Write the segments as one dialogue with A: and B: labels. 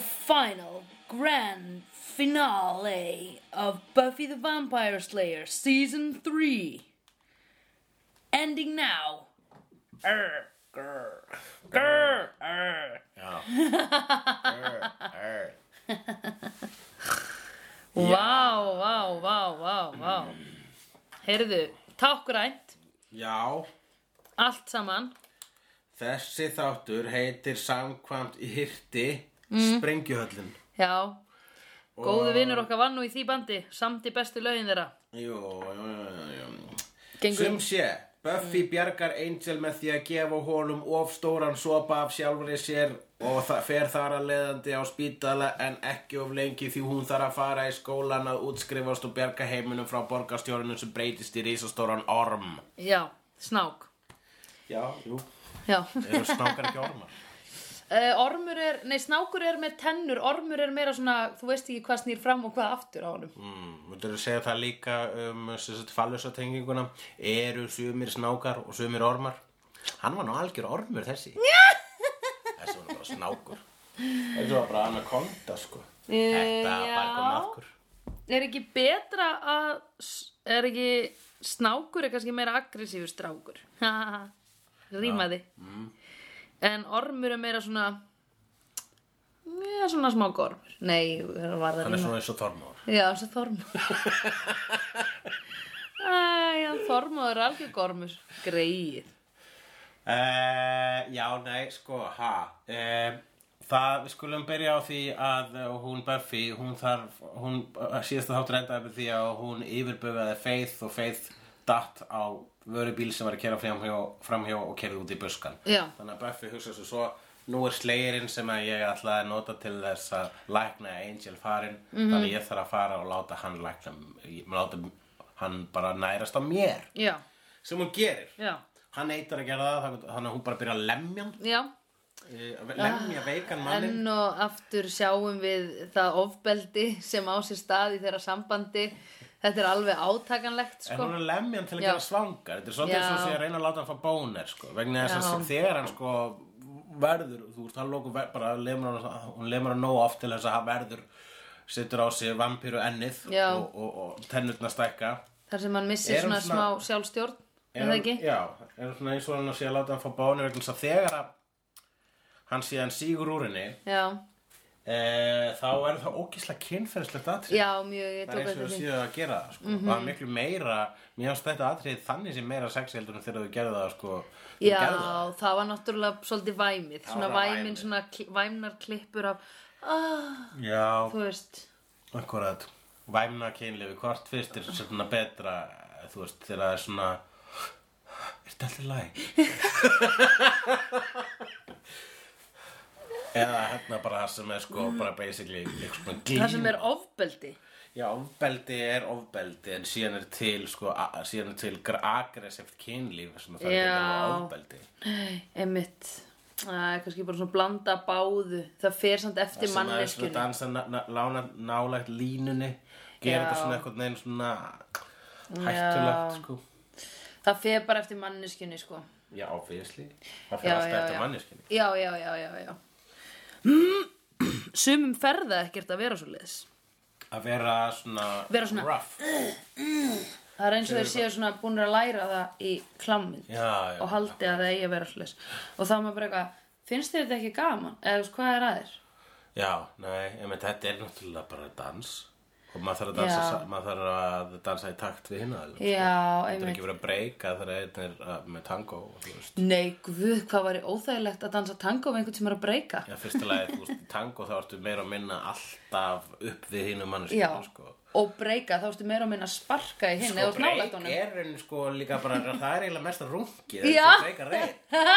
A: final grand finale of Buffy the Vampire Slayer season three. Ending now. Err, grr, grr, err.
B: Já. Err, err.
A: Vá, vá, vá, vá, vá. Heyrðu, tákrænt,
B: Já,
A: allt saman.
B: þessi þáttur heitir samkvæmt í hirti Sprengjuhöllin.
A: Já, góðu vinnur okkar vann nú í því bandi, samti bestu lögin þeirra.
B: Jú, jú, jú, jú.
A: Gengur
B: Sum sé, Buffy bjargar Angel með því að gefa honum of stóran sopa af sjálfri sér og það fer þar að leiðandi á spítala en ekki of lengi því hún þarf að fara í skólan að útskrifast og bjarga heiminum frá borgarstjórinu sem breytist í risastóran orm.
A: Já, snák.
B: Já, jú.
A: Já.
B: Eru snákar ekki ormar?
A: Uh, ormur er, nei, snákur er með tennur, ormur er meira svona, þú veist ekki hvað snýr fram og hvað aftur á honum.
B: Mm, Möndur þú segja það líka um fallusa tenginguna? Eru sumir snákar og sumir ormar? Hann var nú algjör ormur þessi. þessi var nú bara snákur. Þessi var bara anaconda sko. Þetta
A: Eh, já.
B: bara kom afkur.
A: Er ekki betra að, s- er ekki, snákur er kannski meira aggressífur strákur. Haha, Rímaði.
B: mm.
A: En ormur er meira svona, já, svona smá gormur. Nei, það var það
B: Hann er
A: ríma.
B: svona eins og þormóður.
A: Já, þessi þormur. Æja, þormur er algjör gormur. Greið.
B: Uh, já, nei, sko, ha. Uh, það, við skulum byrja á því að eh, hún Buffy, hún þarf, hún, eh, síðasta þáttur endaði með því að hún yfirbugaði Faith og Faith datt á vörubíl sem var að kera framhjá, framhjá og kerði út í buskan.
A: Já.
B: Þannig að Buffy hugsa svo svo, nú er slegirinn sem að ég ætlaði að nota til þess að lækna Angel farinn, þannig að ég þarf að fara og láta hann lækna, láta hann bara nærast á mér,
A: Já,
B: sem hún gerir.
A: já,
B: Hann eitar að gera það, þannig að hún bara byrja að lemja hann,
A: já.
B: eh, að
A: Ah,
B: lemja veikan mannin.
A: Enn og aftur sjáum við það ofbeldi sem á sér stað í þeirra sambandi. Þetta er alveg átakanlegt,
B: En
A: sko.
B: hún er að lemja hann til að
A: Já.
B: gera svangar. Þetta er svolítið
A: Já.
B: eins og sé að reyna að láta hann fá bónir, sko. Vegna þess að
A: Já.
B: þegar hann, sko, verður, þú veist, hann lóku bara, lemur hann, hún lemur hann nóg oft til þess að hann verður, setur á sig vampíru ennið
A: Já.
B: og, og, og tennurna stækka.
A: Þar sem hann missir
B: Er hann
A: svona,
B: svona-
A: smá sjálfstjórn, er
B: Er
A: það
B: hann-
A: ekki?
B: Já, er hann svona eins og hann sé að láta hann fá bónir vegna þess að þegar að hann síðan sígur úr henni,
A: Já,
B: e, þá er það ógísla kynferðislegt atrið.
A: já, mjög, ég
B: Það
A: tók Mhm.
B: er eins og
A: þetta
B: þú
A: því.
B: séu að gera það, sko. Það er miklu meira, mér finnst þetta atrið þannig sem meira sexi heldur en þegar þú gerði það, sko. þú
A: Já,
B: gerðir það.
A: það var náttúrulega svolítið væmið. Svona
B: var
A: væmin,
B: væmið.
A: svona kli- væmnar klippur af, ah,
B: Já,
A: þú veist,
B: akkurat. Væmna kynlifi, hvort fyrst er svona betra, þú veist, þegar það er svona, er þetta allir læg? Eða hérna bara það sem er, sko, bara basically, eitthvað svona glíma.
A: það sem er ofbeldi.
B: Já, ofbeldi er ofbeldi en síðan er til, sko, a- síðan er til gra- aggressivt kynlíf sem það er ekki
A: Já.
B: alveg ofbeldi.
A: Einmitt, Æ, kannski bara svona blanda báðu. Það fer samt eftir
B: sem að svona
A: manneskjunni.
B: dansa na- na- lána- nálægt línunni gera
A: Já.
B: þetta svona eitthvað neginn svona hættulegt
A: Já.
B: sko
A: Það fer bara eftir manneskjunni, sko.
B: já, obviously það fyrir
A: Já,
B: alltaf
A: já,
B: eftir
A: já.
B: manneskinni
A: Já, já, já, já, já. Sumum ferða ekkert að vera svo leiðis.
B: að vera svona,
A: Vera svona-
B: rough
A: Það er eins og þeir séu svona búin að læra það í klámynd
B: já, já,
A: og haldi að það eigi að vera svo leiðis. Og þá er maður bara eitthvað, finnst þér þetta ekki gaman? Eða þú veist, hvað er að þér?
B: já, nei, emi, þetta er náttúrulega bara dans og maður þarf að dansa,
A: Já.
B: sa- maður þarf að dansa í takt við hina alveg.
A: Já,
B: þetta er
A: einmitt.
B: ekki verið að breyka þegar einn er að- með tango og þú veist
A: Nei, guð, hvað var óþægilegt að dansa tango með einhvern sem er að breyka?
B: Já, fyrsta lagi, þú veist, í tango þá ertu meira og minna alltaf upp við hinu
A: Já,
B: manneskinu, sko.
A: og breyka, þá ertu meira og minna að sparka í hinn eða þú ert nálægt honum.
B: er en sko líka bara, það er eiginlega mesta rungi, það
A: Já.
B: er breika reyk.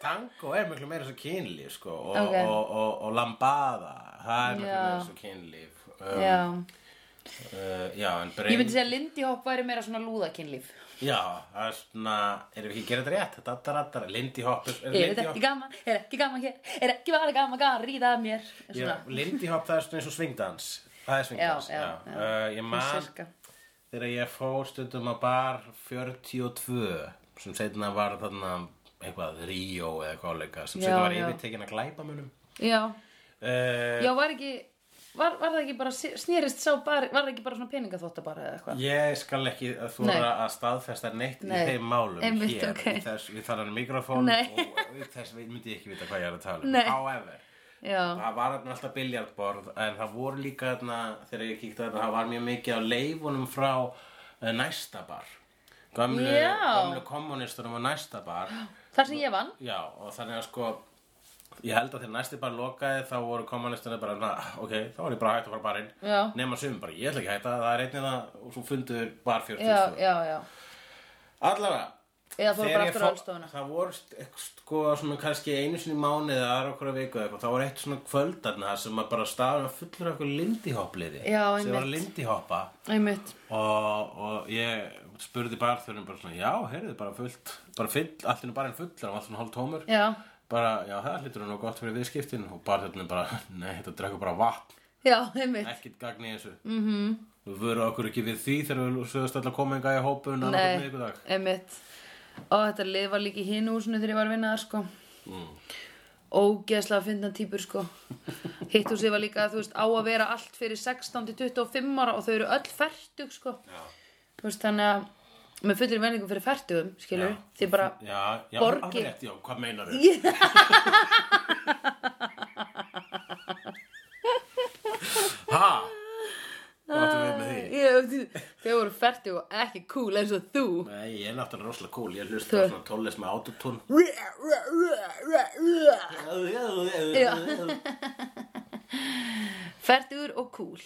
B: Tango er miklu meira svo kynlíf sko, og,
A: Ok.
B: og, og, og lambada, það er miklu
A: Já.
B: meira svo kynlíf. Um,
A: Já,
B: Uh, já, en
A: ég
B: brein,
A: myndi segja að Lindy Hop væri meira svona lúðakynlíf.
B: já, það er svona, erum við ekki að gera þetta rétt? Þetta er þetta, Lindy Hop, er- er
A: Er
B: Lindy
A: þetta ekki
B: Hop?
A: gaman, er ekki gaman hér, er ekki bara gaman gaman, ríða að mér
B: Já,
A: Svona,
B: Lindy Hop, það er svona eins og svingdans. Það er svingdans,
A: Já,
B: já.
A: já,
B: Uh, ég man,
A: cirka
B: þegar ég fór stundum að bar 42 sem setna var þarna eitthvað Ríó eða kollega sem
A: Já,
B: setna var
A: já.
B: yfirtekin að glæpa munum
A: Já,
B: uh,
A: Já, var ekki Var, var það ekki bara, snýrist sá bara, var það ekki bara svona peningaþótta bara eða eitthvað?
B: Ég skal ekki þóra
A: Nei.
B: að staðfesta neitt
A: Nei.
B: í þeim málum
A: Einmitt,
B: hér
A: ok.
B: í þess, við þarfum mikrofón
A: Nei.
B: og auk þess veit- myndi ég ekki vita hvað ég er að tala um
A: Nei.
B: However,
A: Já,
B: það var þarna alltaf biljardborð en það voru líka þarna þegar ég kíkti þarna, það var mjög mikið á leifunum frá eh, næsta bar Gömlu,
A: Já.
B: gömlu kommunistunum á næsta bar
A: þar sem ég vann
B: Já, og þannig að sko Ég held að þegar næsti bara lokaði þá voru kommunistunni bara, na, ok, þá var ég bara hægt að fara á barinn
A: Já.
B: nema sum bara, ég ætla ekki að hætta, það er einnig það og svo fundur bar 42
A: Já, já, já
B: Allavega
A: Eða fóru
B: Þegar
A: bara
B: ég
A: aftur á
B: fó-
A: allstofuna
B: Það voru st- ek- sko svona kannski einu sinni í mánuði eða aðra okkur að viku eða eitthvað Það voru eitt svona kvöldarna sem að bara staðum að fullur okkur lindihoppliði
A: Já,
B: Sem
A: einmitt.
B: var að lindihoppa
A: Einmitt
B: og, og ég spurði barþurinn bara svona Já, heyrðu, bara fullt Bara full, allt innum barinn fullur, hann var svona hálf tómur
A: Já,
B: Bara, já, það hlýtur nú gott fyrir viðskiptin Og barþurinn bara, nei, þetta drekkur bara vatn
A: já, einmitt
B: ekkert gagn í þessu mm
A: Mhm.
B: -hmm. Við vöru okkur ekki við því þegar við sögðast alltaf koma enga í hópun annað hvern miðvikudag.
A: einmitt Og þetta lið var líka í hinu húsinu þegar ég var að vinna þar sko
B: Mm.
A: Ógeðslega að finna típur sko Hitt húsið var líka, þú veist, á að vera allt fyrir 16 til 25 ára og þau eru öll fertug sko
B: Já.
A: Þú veist, þannig að með fullir vendingum fyrir fertugum, skilur
B: Já.
A: Því bara,
B: Já, já,
A: Borgi.
B: alveg rétt, já, hvað meinar þau? ha? Hvað áttu við með því?
A: ég, þau voru fertug og ekki cool eins og þú
B: Nei, ég er náttúrulega rosalega cool, ég hlusta á svona tónlist með autotún
A: Já. Fertugur og cool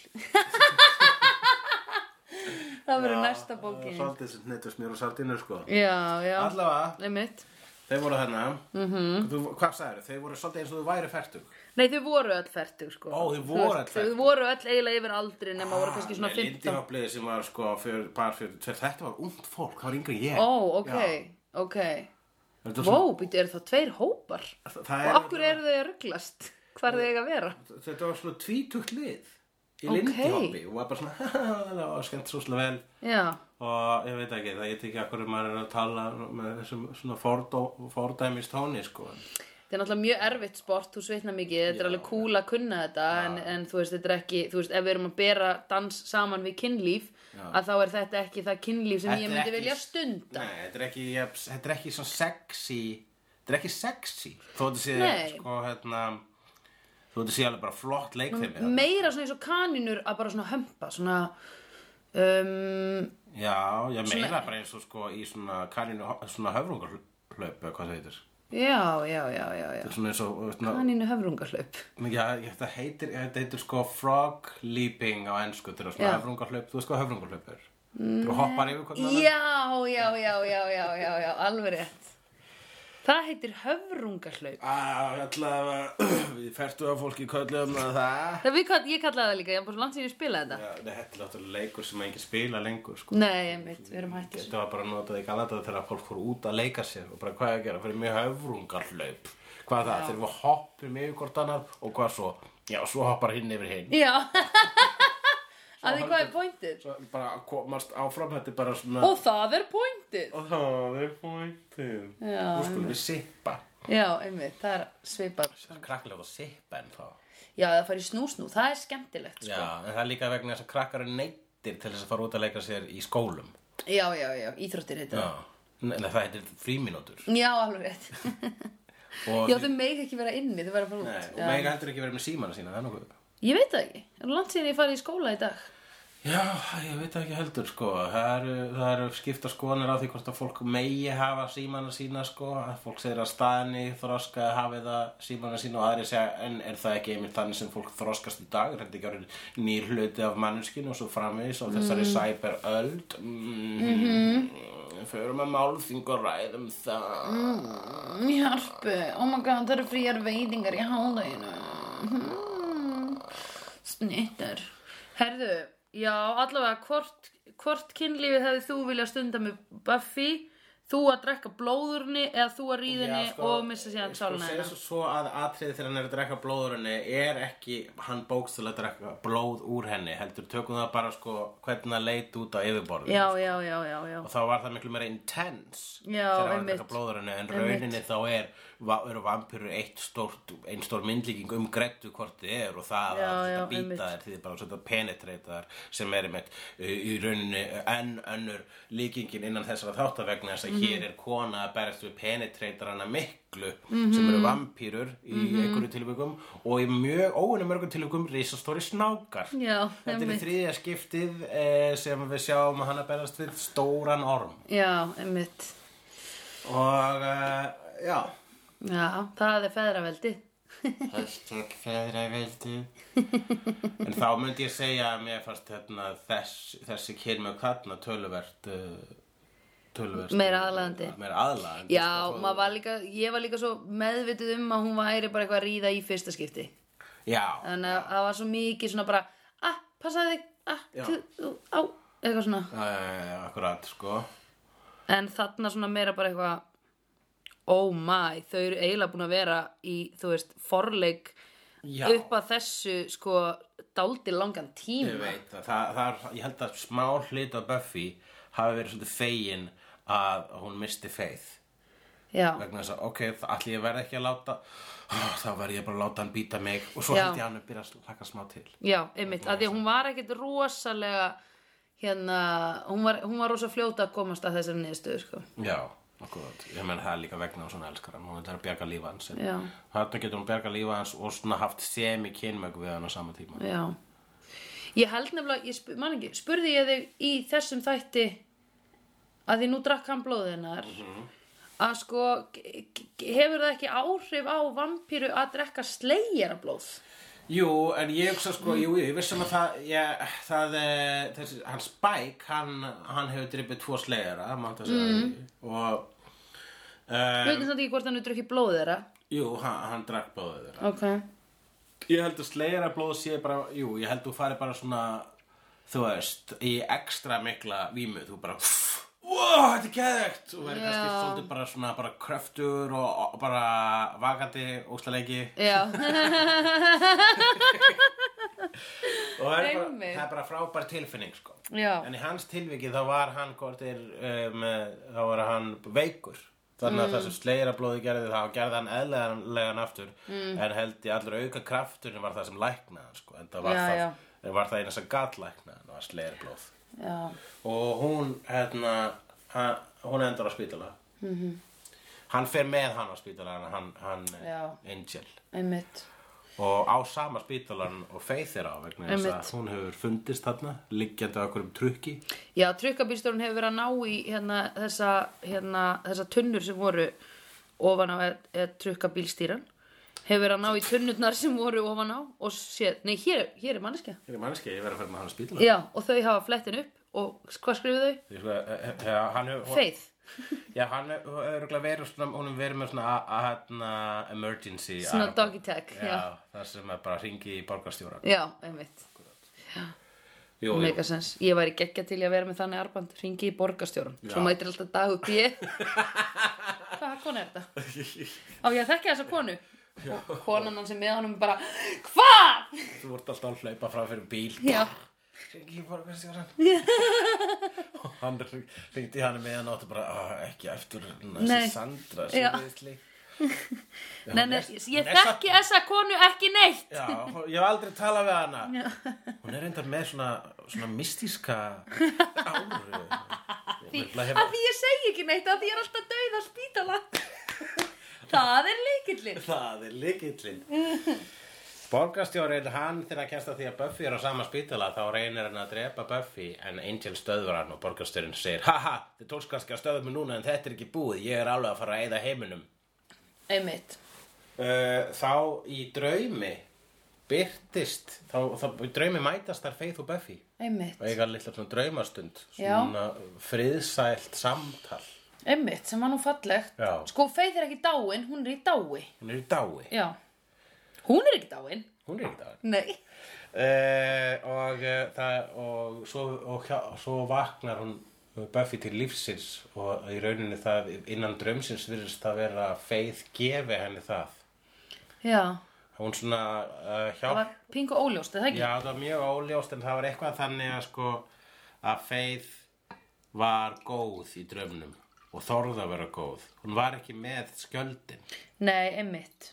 A: Það verður næsta bókin
B: Svolítið sem hneitur smjör og saltinu, sko
A: Já, já
B: Allavega,
A: Einmitt.
B: þeir voru þarna
A: Mhm.
B: -hmm. þú, Hvað sagðir, þeir voru svolítið eins og þú væri færtug
A: Nei, þau voru öll fertug sko
B: Ó, þau
A: Þú veist,
B: voru öll Ah, fertug.
A: Þau voru öll eiginlega yfir aldri nema voru kannski svona 15
B: Lindihoppliði sem var sko fyrir, par fyrir, Þetta var ungt fólk, það var yngri en ég
A: Ó, ok,
B: Já.
A: ok
B: Þetta var
A: Vó, býttu, eru það tveir hópar?
B: svona- Það
A: Og
B: er-
A: okkur eru þau að rugglast? Hvar þau eiga að vera?
B: þetta var svona tvítugt lið í
A: Ókei.
B: okay. lindihoppi og var bara svona það var skemmt svo slega vel
A: Já,
B: og ég veit ekki, það ég tekja hverju maður er að tala með þessum svona fordó, fordæmis tóni sko
A: Um, þetta er náttúrulega mjög erfitt sport, þú svitna mikið, þetta er alveg cool að kunna þetta en, en þú veist, þetta er ekki, þú veist, ef við erum að bera dans saman við kynlíf að þá er þetta ekki það kynlíf sem
B: Þetta
A: ég
B: er
A: myndi
B: ekki-
A: vilja stunda
B: Nei, þetta er ekki, ja, þetta er ekki svo sexy þetta er ekki sexy þó þetta sé
A: Nei.
B: sko hérna þó þetta sé alveg bara flott leik þeim
A: meira svona eins og kaninur að bara svona hömpa svona um,
B: Já, ég meira bara eins og sko í svona kaninu, svona höfrungarhlaup eða hvað það heitir
A: já, já, já, já, já.
B: Þetta er svona eins og svona,
A: kaninu höfrungahlaup
B: Já, ég- þetta heitir, þetta heitir sko frog leaping á ennsku, þetta er svona
A: Já. Mm,
B: höfrungarhlaup, þú veist hvað höfrungarhlaup er? Þú hoppar yfir hvort annan?
A: já, já, já, já, já, já, já alveg rétt það heitir
B: Ah.
A: höfrungahlaup
B: Á, allavega, við færtu að fólki köllum að það.
A: það við, kall- ég kallaði það líka, ég var bara svo langt sem ég spilaði þetta
B: Já, þetta er náttúrulega leikur sem enginn spila lengur, sko.
A: nei, einmitt, við erum hættir
B: Þetta var bara notað í galata þegar fólk fór út að leika sér og bara hvað er að gera, fyrir mig höfrungarhlaup. Hvað er það? Þegar við hoppum yfir hvort annað og hvað svo? Já, svo hoppar hinn yfir hinn.
A: Já Af því hvað er pointið?
B: Svo bara komast áfram, þetta er bara svona...
A: Og það er pointið
B: Og það er pointið.
A: Já,
B: Nú skulum við sippa.
A: Já, einmitt, það er svipað
B: Krakkilega að sippa en þá.
A: Já, það fari snúsnú, það er skemmtilegt sko.
B: Já, en það er líka vegna þess að krakkar eru neittir til þess að fara út að leika sér í skólum.
A: já, já, já, íþróttir heitir það
B: Nei, nei, það heitir fríminútur.
A: Já, alveg rétt
B: Og
A: Já, þau meik ekki vera inni, þau vera bara
B: Nei,
A: út
B: og
A: Já.
B: mega heldur ekki verið með símana sína, það er nokkuð.
A: Ég veit það ekki, er langt síðan ég farið í skóla í dag
B: Já, ég veit ekki heldur, sko. Það eru, það eru skipta skoðanir á því hvort að fólk megi hafa símana sína, sko. Að fólk segir að staðinni þroska hafi það símana sína og aðri segja, en er það ekki einmitt þannig sem fólk þroskast í dag? Er þetta ekki árið nýr hluti af mannskinu og svo framvegis og þessari cyberöld? Mm -hmm. Förum að málþing og ræðum það.
A: Mm, Hjálpi, oh my god, það eru fríjar veitingar í hálaginu hmm. Snittar Herðu, já, allavega hvort, hvort kynlífið hefði þú vilja stunda með Buffy þú að drekka blóðurni eða þú að ríðinni og missa síðan sálina
B: sko,
A: hennar
B: segja svo að atriði þegar hann er að drekka blóðurinni er ekki hann bókstala að drekka blóð úr henni heldur tökum það bara sko hvernig hann leit út á yfirborðinu
A: já, já, já, já, já
B: og þá var það miklu meira intense
A: Já,
B: þegar hann var að
A: einmitt.
B: drekka blóðurinni en
A: Einmitt.
B: rauninni þá er, va- eru vampirur eitt stórt, ein stór myndlíking um grettu hvort þið er og það
A: Já,
B: að
A: já,
B: þetta
A: einmitt.
B: býta þær því þið bara svona penetrate þær sem er einmitt uh, í rauninni uh, enn önnur líkingin innan þessara þáttavegna
A: Mhm.
B: þess að hér er kona að berist við penetreitarana miklu
A: Mhm.
B: sem eru vampýrur í einhverju tilvikum og í mjög óunum mörgum tilvikum risastóri snákar
A: Já,
B: Þetta er í
A: einmitt.
B: þriðja skiptið eh, sem við sjáum að hann að berast við stóran orm
A: Já, einmitt
B: og eh, já
A: Já, það er feðraveldi
B: Hashtag feðraveldi En þá myndi ég segja að mér fannst hérna, þess, þessi kynmjög þarna töluvert uh, töluvert
A: Meira aðlaðandi.
B: Meira aðlaðandi
A: Já,
B: sko, þó-
A: maður var líka, ég var líka svo meðvituð um að hún væri bara eitthvað að ríða í fyrsta skipti
B: Já,
A: Þannig að það var svo mikið svona bara Ah, passaði þig, ah,
B: Já.
A: kl- ú, á, eitthvað svona
B: uh, akkurat sko
A: En þarna svona meira bara eitthvað Oh my, þau eru eiginlega búin að vera í, þú veist, forleik
B: Já.
A: upp að þessu, sko, dáldi langan
B: Ég
A: tíma
B: veit það, það, það er, ég held að smá hlut á Buffy hafi verið svolítið fegin að hún misti feið
A: Já,
B: vegna þess að ok, allir ég verð ekki að láta ah, þá verð ég bara að láta hann býta mig og svo
A: Já.
B: held ég hann að byrja að slaka smá til
A: já, einmitt, að því að hún var ekkit rosalega, hérna, hún var, hún var rosa fljóta að komast að þessari niðurstöðu, sko
B: já, akkurat, ég menn það er líka vegna hún svona elskar hann, hún ætlar að bjarga lífa hans
A: Já.
B: þarna getur hún bjarga lífa hans og svona haft semi kynmög við hann á sama tíma
A: Já Ég held nefnilega, ég sp man ekki, spurði ég þig í þessum þætti að því nú drakk hann blóðinnar mm að sko g- g- hefur það ekki áhrif á vampíru að drekka slegjara blóð
B: Jú, en ég hugsa sko, jú, jú, ég vissum að það, ég, það, eh, þessi, hann Spike, hann, hann hefur drippið tvo slegjara, mátt að segja
A: Mm.
B: það og,
A: Við
B: uh,
A: veitum þetta ekki hvort hann er drukkið blóð þeirra
B: jú, hann, hann drakk báðu þeirra.
A: Ok
B: Ég held að slegjara blóð sé bara, jú, ég held að þú fari bara svona, þú veist, í ekstra mikla vímu, þú bara, wow, þetta er geðvegt, og verður kannski
A: Já.
B: svolítið bara svona, bara kröftur og, og bara vakandi, óslalegi,
A: Já,
B: og það er bara,
A: Einmitt.
B: það er bara frábær tilfinning, sko.
A: já,
B: En í hans tilviki þá var hann, hvort er, um, þá var hann veikur. Þannig að það
A: Mm.
B: sem slegjara blóði gerði þá gerði hann eðlegan aftur
A: Mm.
B: en held í allur auka krafturinn var það sem læknaði hann sko en það var
A: Já,
B: það,
A: já.
B: en var það eina sem gat læknaði hann var slegjara blóð
A: já
B: og hún hérna, hann, hún endur á spítala mm
A: Mhm.
B: -hmm. hann fer með hann á spítala hann, hann, hann
A: Já.
B: Angel
A: Einmitt
B: og á sama spítalan og feið þeirra á vegna þess
A: Einmitt.
B: að hún hefur fundist þarna liggjandi á okkur um trukki
A: Já, trykkabýrstjórn hefur verið að ná í hérna, þessa, hérna, þessa tunnur sem voru ofan á e, e, trykkabýlstýran hefur verið að ná í tunnurnar sem voru ofan á og séð, nei, hér, hér er manneskja
B: Ég er mannskja, ég verð að fara með hann að spýtla
A: Já, og þau hafa flettin upp og s- hvað skrifu þau?
B: Ég sko, eh, eh, eh, hann hefur
A: Feið
B: Já, hann hefur örugglega verið svona, hún hefur verið með svona a- a- hérna emergency
A: Svona
B: alarm.
A: doggy tag,
B: Já,
A: já.
B: það sem er bara hringi í borgarstjóra
A: Já, einmitt,
B: Jú, jú,
A: megasens Ég væri geggja til ég að vera með þannig arband Ringi í borgarstjóran,
B: Já.
A: svo mætir alltaf dagu B Hvaða konu er þetta? Á, ég þekki þessa konu og konan hans er með honum bara Hvað?
B: þú vart alltaf að hlaupa frá fyrir bíl
A: Já
B: Hringi í borgarstjóran Og hann hringdi í hann með hann áttu bara, "Ah, ekki eftir
A: Nei.
B: þessi Sandra
A: Já.
B: síðisli
A: Nei, nei, ég ég þekki þessa konu ekki neitt
B: Já, hún- ég hef aldrei talað við hana Hún er reyndar með svona, svona mystíska áru
A: því,
B: Nefnilega hefur-
A: Af því ég segi ekki neitt Af því ég er alltaf dauð á spítala Það er leikillin
B: Það er lykillinn. Borgarstjórinn, hann þegar hann kemst að því að Buffy er á sama spítala þá reynir hann að drepa Buffy en Angel stöðvar hann og borgarstjórinn segir Haha, þið tókst kannski að stöðva mig núna en þetta er ekki búið, ég er alveg að fara að eyða heiminum.
A: Einmitt
B: Uh, þá í draumi byrtist, þá, þá í draumi mætast þar Faith og Buffy og
A: Einmitt,
B: eiga litla svona draumastund,
A: Já.
B: svona friðsælt samtal.
A: einmitt, sem var nú fallegt
B: Já.
A: Sko, Faith er ekki dáin, hún er í dái
B: Hún er í dái,
A: Já Hún er ekki dáin
B: hún er í dái.
A: Nei
B: Eh, og, eh, það, og, svo, og hjá, svo vaknar hún Buffy til lífsins og í rauninni það innan draumsins virðist það vera að feið gefi henni það.
A: Já,
B: Hún svona uh,
A: það
B: hjálp,
A: var pingu óljóst, eða ekki?
B: já það var mjög óljóst en það var eitthvað þannig að sko að feið var góð í draumnum og þorði að vera góð. Hún var ekki með skjöldin.
A: Nei, einmitt.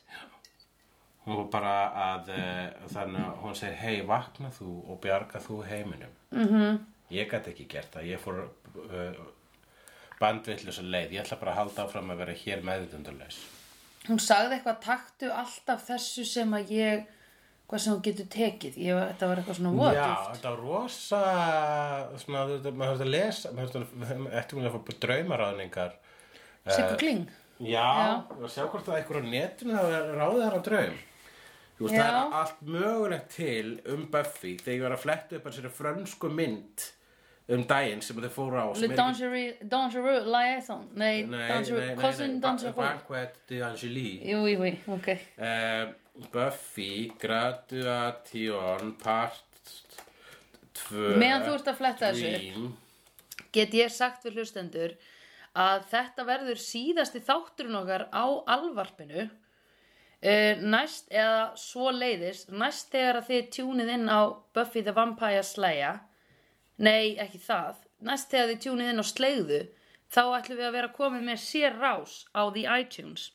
B: Hún var bara að, uh, þannig að hún segir, hei, vakna þú og bjarga þú heiminum. Mm -hmm. Ég gæti ekki gert það, ég fór uh, bandvillis að leið, ég ætla bara að halda áfram að vera hér meðutundarlaus.
A: Hún sagði eitthvað, taktu alltaf þessu sem að ég, hvað sem hún getur tekið. Ég, var- þetta var eitthvað svona
B: Já,
A: voðdýft.
B: þetta var rosa, svona, þetta, maður höfði að lesa, maður höfði að, eftir mér að fá draumaráðningar. Eh,
A: Sikku Kling.
B: Já, og sjá hvort það er einhver á netinu það er ráðið þar á draum. Þú veist, það
A: Já.
B: er allt mögulegt til um Buffy þegar ég var að fletta upp þessari frönsku mynd um daginn sem þau fóru á. sem
A: Le
B: er ekki-
A: Dangereux, Dangereux Liaison. Nei,
B: Nei, nei,
A: Dangereux,
B: nei,
A: Cousin
B: nei,
A: Dangereux.
B: Banquet de Angélie.
A: Jú, jú, jú, ok.
B: Um, Buffy, Graduation, Part 2.
A: Meðan þú ert að fletta þessu upp,
B: Dream.
A: get ég sagt við hlustendur að þetta verður síðasti þátturinn okkar á alvarpinu uh, næst eða svo leiðis næst þegar að þið tjúnið inn á Buffy the Vampire Slayer nei ekki það næst þegar þið tjúnið inn á Slegðu þá ætlum við að vera komið með sér rás á The iTunes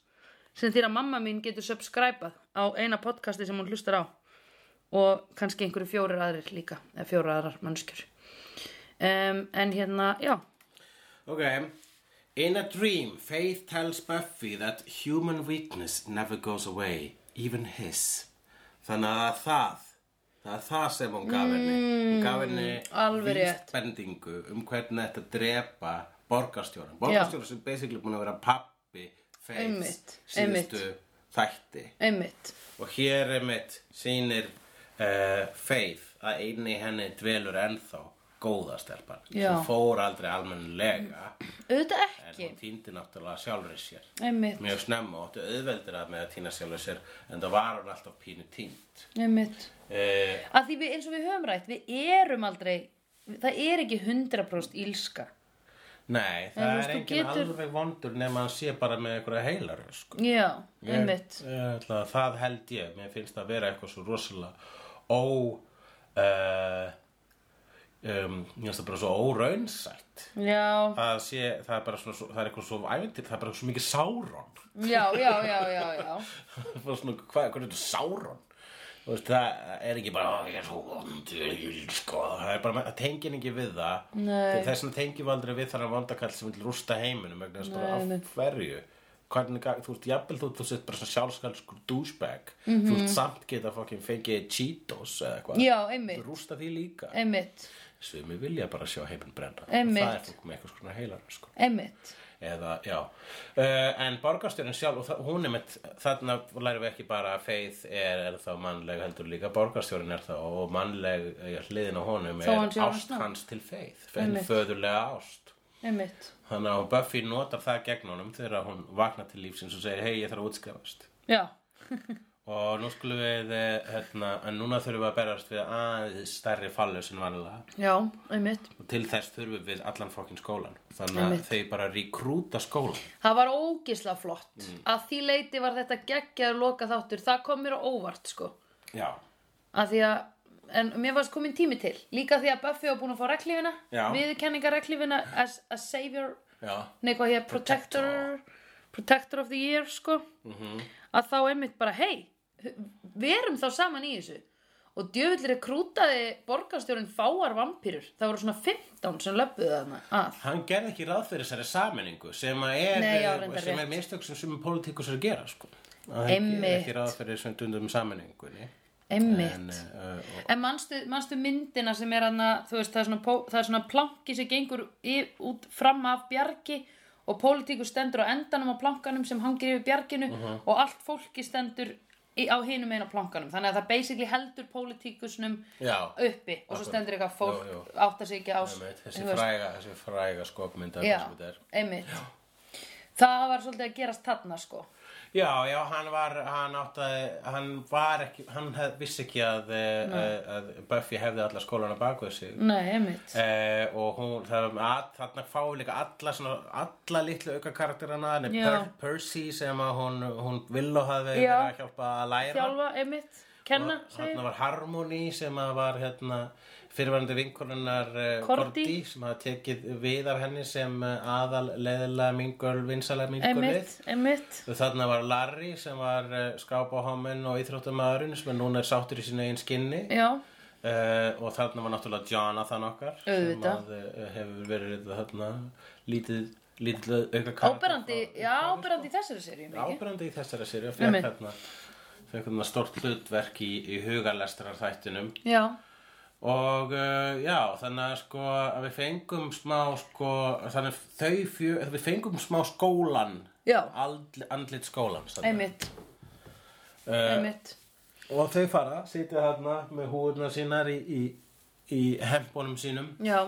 A: sem því að mamma mín getur subscribað á eina podcasti sem hún hlustar á og kannski einhverju fjórir aðrir líka eða fjórir aðrar mannskjur um, en hérna, já
B: Okay. In a dream, Faith tells Buffy that human weakness never goes away, even his. Þannig að það er það, það er það sem hún gaf henni. Hún gaf henni
A: Mm, alveg rétt.
B: vísbendingu um hvernig þetta drepa borgarstjóran. Borgarstjóran sem basically búin að vera pappi Faiths
A: Einmitt,
B: síðustu þætti.
A: einmitt
B: Og hér er mitt sýnir uh, Faith að einni henni dvelur ennþá góða stelpan
A: Já.
B: sem fór aldrei almennilega
A: auðvitað
B: en
A: ekki,
B: hún týndi náttúrulega sjálfri sér
A: einmitt,
B: mjög snemma og áttu auðveldir að með að týna sjálfri sér en það var hún alltaf pínu týnd
A: einmitt
B: uh,
A: að því við, eins og við höfum rætt, við erum aldrei það er ekki 100% ílska
B: Nei, það
A: En þú veist,
B: er
A: þú
B: engin
A: getur-
B: alveg vondur nema hann sé bara með einhverja heilar sko.
A: já, einmitt
B: Ég ætla að það held ég, mér finnst það vera eitthvað svo rosalega ó uh, um, ég finnst það bara svo óraunsætt
A: já,
B: það sé, það er bara svona, svo- það er eitthvað svo ævendir, það er bara svo mikið sáron
A: já, já, já, já, já
B: bara svona, hvað, hvernig þetta Sauron þú veist, það er ekki bara "Ó, ég er svo vondur, sko það er bara, það tengir ekki við það
A: Nei.
B: Til þess vegna tengjum við aldrei við þar að vandakall sem vil rústa heiminum, vegna þess bara
A: Nei, nei.
B: af hverju hvernig, gat- þú veist, jafnvel þú, þú sett bara svona sjálfskalskur douchebag mm -hmm. þú veist, samt geta fokkin fengið Cheetos eða eitthvað,
A: Mhm. já,
B: Þú
A: einmitt,
B: rústa því líka
A: einmitt
B: svimi vilja bara sjá heiminn brenna
A: Einmitt.
B: það er fólk með eitthvað skona heilar sko
A: einmitt,
B: eða, já uh, en borgarstjórin sjálf, og það- hún er mitt þarna lærum við ekki bara að Faith er, er þá mannleg heldur líka borgarstjórin er þá og mannleg eh, hliðin á honum
A: Þó hann sé
B: er ást
A: orðsnögg.
B: hans til Faith en föðurlega ást
A: einmitt
B: þannig að Buffy notar það gegn honum þegar hún vaknar til lífsins og segir hei ég þarf að útskrifast
A: já,
B: og nú skulum við eh, hérna, en núna þurfum við að berast við aðeins stærri fallu sem vanlega
A: já, einmitt
B: og til þess þurfum við allan fokkin skólan þannig að
A: Einmitt.
B: þau bara rekrúta skólan
A: Það var ógisla flott. Að því leiti var þetta geggjaður loka þáttur. Það kom mér á óvart, sko.
B: já
A: að því að, en mér varst komin tími til líka því að Buffy var búin að fá reglífina
B: Já.
A: viðurkenningar reglífina as a savior
B: Já,
A: nei hvað hér, protector protector of the year sko -hmm. að þá einmitt bara, hei verum þá saman í þessu og djöfullir rekrútaði borgarstjórinn fáar vampýrur, það voru svona 15 sem löppuðu þarna að
B: hann gerði ekki ráð fyrir þessari sammenningu sem að er, eh,
A: Nei, já, reyndar
B: sem er
A: rétt.
B: mistök sem sumir pólitíkus er að gera sko. Að hann
A: Einmitt.
B: gerði ekki ráð fyrir þessum dundum sammenningunni
A: einmitt
B: en, uh, og,
A: En manstu, manstu myndina sem er hann þú veist, það er svona, pó- það er svona planki sem gengur í, út fram af bjargi og pólitíkur stendur á endanum á plankanum sem hangir yfir bjarginu
B: Mhm.
A: og allt fólki stendur í, á hinum einu plankanum. Þannig að það basically heldur pólitíkusnum
B: já,
A: uppi og svo
B: Akkurat.
A: stendur eitthvað fólk
B: Jú, jú.
A: átta sig ekki á
B: einmitt, þessi
A: þú veist,
B: fræga, þessi fræga skopmynda
A: Já, einmitt. Það var svolítið að gerast þarna sko.
B: já, Já, já, hann var, hann áttaði, hann var ekki, hann hef, vissi ekki að, eh, að, að Buffy hefði alla skólana baku sig
A: Nei, einmitt.
B: eh, og hún, það, er að, þarna fáið líka alla, svona, alla litlu auka karakterana, hann er
A: Já.
B: per, Percy sem að hún, hún vill og
A: Já.
B: hafði verið að hjálpa að læra
A: Þjálfa, einmitt. Kenna, segir.
B: Þarna var Harmony sem að var hérna fyrirværandi vinkonunar uh,
A: Cordy.
B: sem hafði tekið við af henni sem eh, aðal leðilega mingul, vinsalega
A: Einmitt,
B: mingulið
A: einmitt.
B: Þarna var Larry sem var uh, skápahóminn og íþróttamæðurinn sem er núna er sáttur í sínu einn skinni
A: Já,
B: uh, og þarna var náttúrulega Jonathan okkar sem
A: Auðvitað.
B: að, uh, hefur verið þarna lítið, lítið auka karakter
A: áberandi,
B: frá-
A: já, áberandi í
B: sko.
A: þessari seríu mikið.
B: áberandi í þessari séri og
A: Einmitt.
B: fekk hérna fekk hérna stórt hlutverk í, í hugalestrar þættinum
A: Já,
B: og uh, já, þannig að sko að við fengum smá sko þannig að þau fjö, við fengum smá skólan
A: Já.
B: Andl, andlit skólan
A: einmitt,
B: Eh.
A: einmitt.
B: og þau fara, sitja þarna með húðuna sínar í, í, í hempónum sínum
A: Já,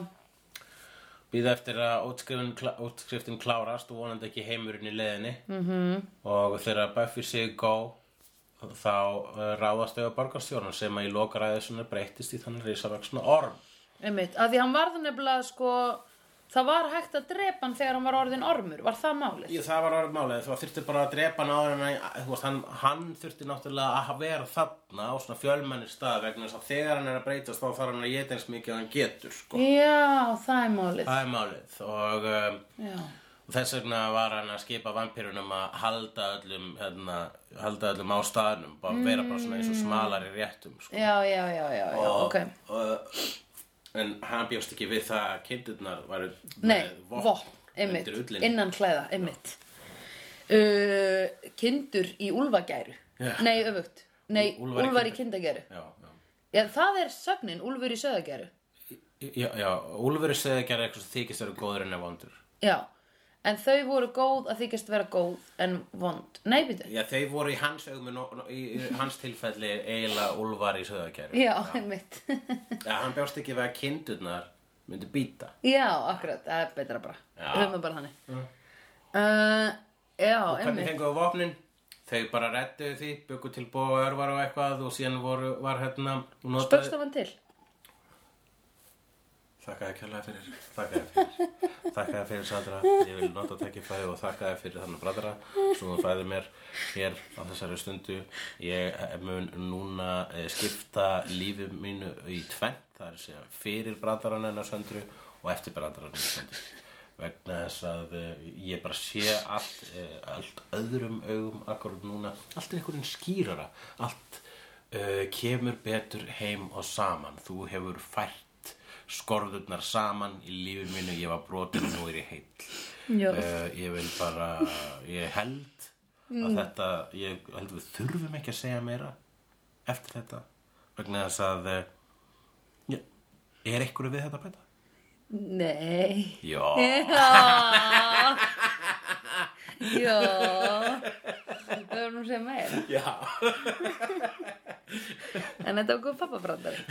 B: býða eftir að útskriftin, klá, útskriftin klárast og vonandi ekki heimurinn í leiðinni -hmm. og þegar Buffy sig gó þá uh, ráðast þau á borgarstjóran sem að í lokaræðu svona breyttist í þannig risavaksna orm
A: einmitt. Að því hann varð nefnilega, sko, það var hægt að drepa hann þegar hann var orðin ormur, var það málið?
B: Ég, það var orðið málið, þú þurfti bara að drepa hann áður en hann- þú veist, hann, hann þurfti náttúrulega að vera þarna á svona fjölmennir stað vegna þess að þegar hann er að breytast þá þarf hann að geta eins mikið að hann getur sko.
A: Já, það er málið.
B: Það er málið og um,
A: Já,
B: Og Þess vegna var hann að skipa vampirunum að halda öllum, hérna, halda öllum á staðnum, bara vera bara svona eins og smalari réttum, sko.
A: já, já, já, já, Mm. já, ok.
B: Og, en hann bjóst ekki við það að kindurnar varu
A: Nei,
B: með
A: vopn, einmitt,
B: undir ullinni.
A: innan klæða, einmitt. Uh, kindur í úlfagæru.
B: Já.
A: Nei, öfugt. Nei,
B: Úlfar í
A: úlfar í kindagæru.
B: kindagæru. Já, já.
A: Já, það er sögnin, úlfur í söðagæru.
B: Já, já, Úlfur er segið að gera eitthvað sem þykist eru góður en er vondur.
A: Já, en þau voru góð að þykjast vera góð en vond. Nei, býtu.
B: Já, þau voru í hans augum, í, í hans tilfelli eiginlega Úlfar í söðakæri.
A: Já, einmitt.
B: Já, hann bjóst ekki við að kindurnar myndi býta.
A: já, akkurat, það er betra bara.
B: Já.
A: Við höfum bara þannig. Uh, já,
B: Hvernig
A: einmitt.
B: fenguðu vopnin? Þau bara rettuðu því, byggu til bóa örvar og eitthvað og síðan voru, var hérna og notaði...
A: Spöggstofan til.
B: Þakka þér kjærlega fyrir, þakka þér fyrir, þakka þér fyrir Sandra, ég vil nota tekifæði og þakka þér fyrir þannig bradara sem þú fæði mér hér á þessari stundu. Ég mun núna eh, skipta lífi mínu í tvennt, það er að segja fyrir bradaran hennar Söndru og eftir bradaran hennar Söndru vegna þess að eh, ég bara sé allt, eh, allt öðrum augum akkurat núna, allt er einhverjum skýrara allt uh, kemur betur heim og saman þú hefur fært skorðurnar saman í lífi mínu ég var brotin nú er ég heill
A: Já.
B: uh, ég vil bara ég held
A: Mm.
B: að þetta ég held við þurfum ekki að segja meira eftir þetta vegna þess að uh, ég, er einhverju við þetta að bæta?
A: Nei.
B: Já
A: Eh, Já. já. Við höfum nú sem meira.
B: Já,
A: En þetta var góð Eh, pappabrandari.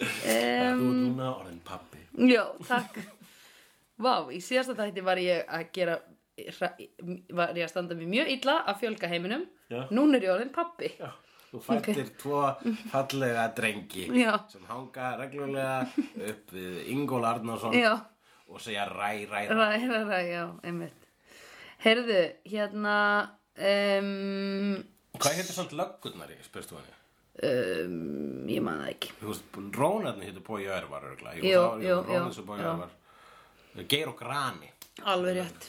B: um, þú er núna orðin pappi
A: Já, takk. Vá, í síðasta þætti var ég að gera, var ég að standa mig mjög illa að fjölga heiminum.
B: Já.
A: Núna er ég orðin pappi. Já.
B: Þú fættir tvo fallega drengi
A: Já.
B: sem hanga reglulega upp við Ingól Arnarsson
A: Já,
B: og segja ræ, ræ, ræ
A: ræ, ræ, ræ, já, einmitt. Heyrðu, hérna, um,
B: Hvað heitir samt löggurnar í, spyrst þú henni?
A: um, ég man það ekki.
B: Þú veist, Rónarni heitir Bói Örvar örugglega.
A: Jú,
B: þá-
A: jú,
B: Rónar
A: jú,
B: sem Bói
A: já.
B: Örvar Geir og Grani
A: Alveg rétt.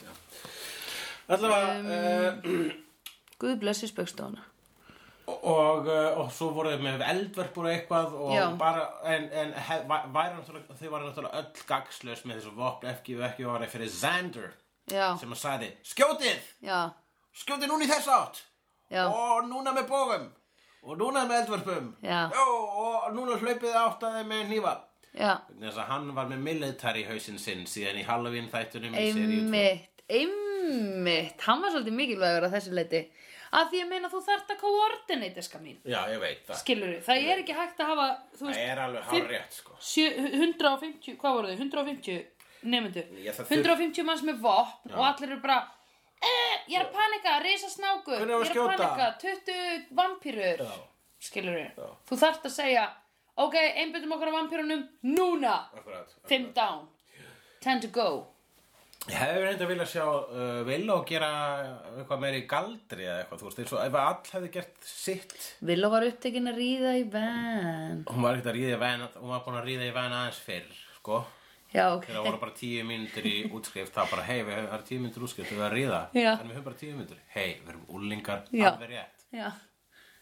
B: Allavega, um,
A: Guð blessi spöggstofana.
B: og, uh, og svo voru þau með eldverk og eitthvað og
A: Já.
B: bara, en, en hef, væri náttúrulega, þau varu náttúrulega öll gagslaus með þessu vopn ekki og ekki var fyrir Xander
A: Já,
B: sem að sagði, skjótið,
A: já,
B: skjótið núna í þess átt
A: já,
B: og núna með bógum og núna með eldverpum
A: Já.
B: Jó, og núna hlaupið átt að þeim með hnífa
A: já,
B: þess að hann var með military hausinn sinn síðan í Halloween þættunum í seríu tvö.
A: einmitt, einmitt. Hann var svolítið mikilvægur að þessu leiti. Að því ég meina þú þarft að koordinate, ska mín.
B: Já, ég veit það
A: skilur við, það er ekki hægt að hafa þú
B: Það
A: veist,
B: er alveg
A: fimm-
B: hár rétt sko
A: sjö, 150, hvað voru þau 150 nefndu,
B: Ég, það þurf-
A: 150 manns með vopn og allir eru bara eh, ég er að panika, risa snákur
B: Hvernig
A: Ég
B: á að
A: er að
B: skjóta?
A: panika, 20 vampýrur
B: Já.
A: Skilur við
B: Já.
A: Þú þarft að segja Ok, einbyttum okkur á vampýrunum núna
B: Akkurat.
A: Fimm down Ten to go
B: Ég hefði reynda viljað sjá uh, Villó gera eitthvað meiri galdri eða eitthvað, þú veist, eins og ef að all hefði gert sitt.
A: Villó var upptekin að ríða í van
B: Hún var ekkert að ríða í væn, hún var búin að ríða í væn aðeins fyrr, sko.
A: Já, ok
B: Þegar það voru bara tíu mínútur í útskrift, þá bara, hei, við höfum tíu mínútur í útskrift, við höfum að ríða.
A: Já.
B: En við höfum bara tíu mínútur. Hei, við erum úlingar,
A: Já.
B: alveg rétt.
A: Já,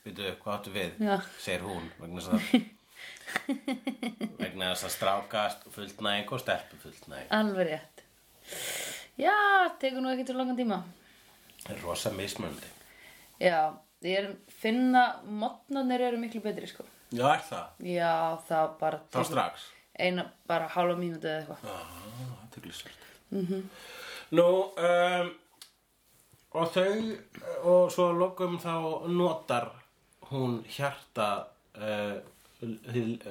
B: Veitu, hvað áttu við?
A: Já.
B: Segir hún, vegna þess að... vegna þess að strákast fullnæg og stelpu fullnæg.
A: alveg rétt Já, tekur nú ekki til langan tíma
B: Það er rosa mismöndi.
A: Já, ég er finna Modnarnir eru miklu betri, sko
B: Já, er það?
A: Já, það bara
B: Þá strax.
A: Eina, bara hálfa mínútu eða eitthvað
B: Já, það er glisvert.
A: Mhm.
B: Nú, um, og þau, og svo að lokum þá notar hún hjarta, uh,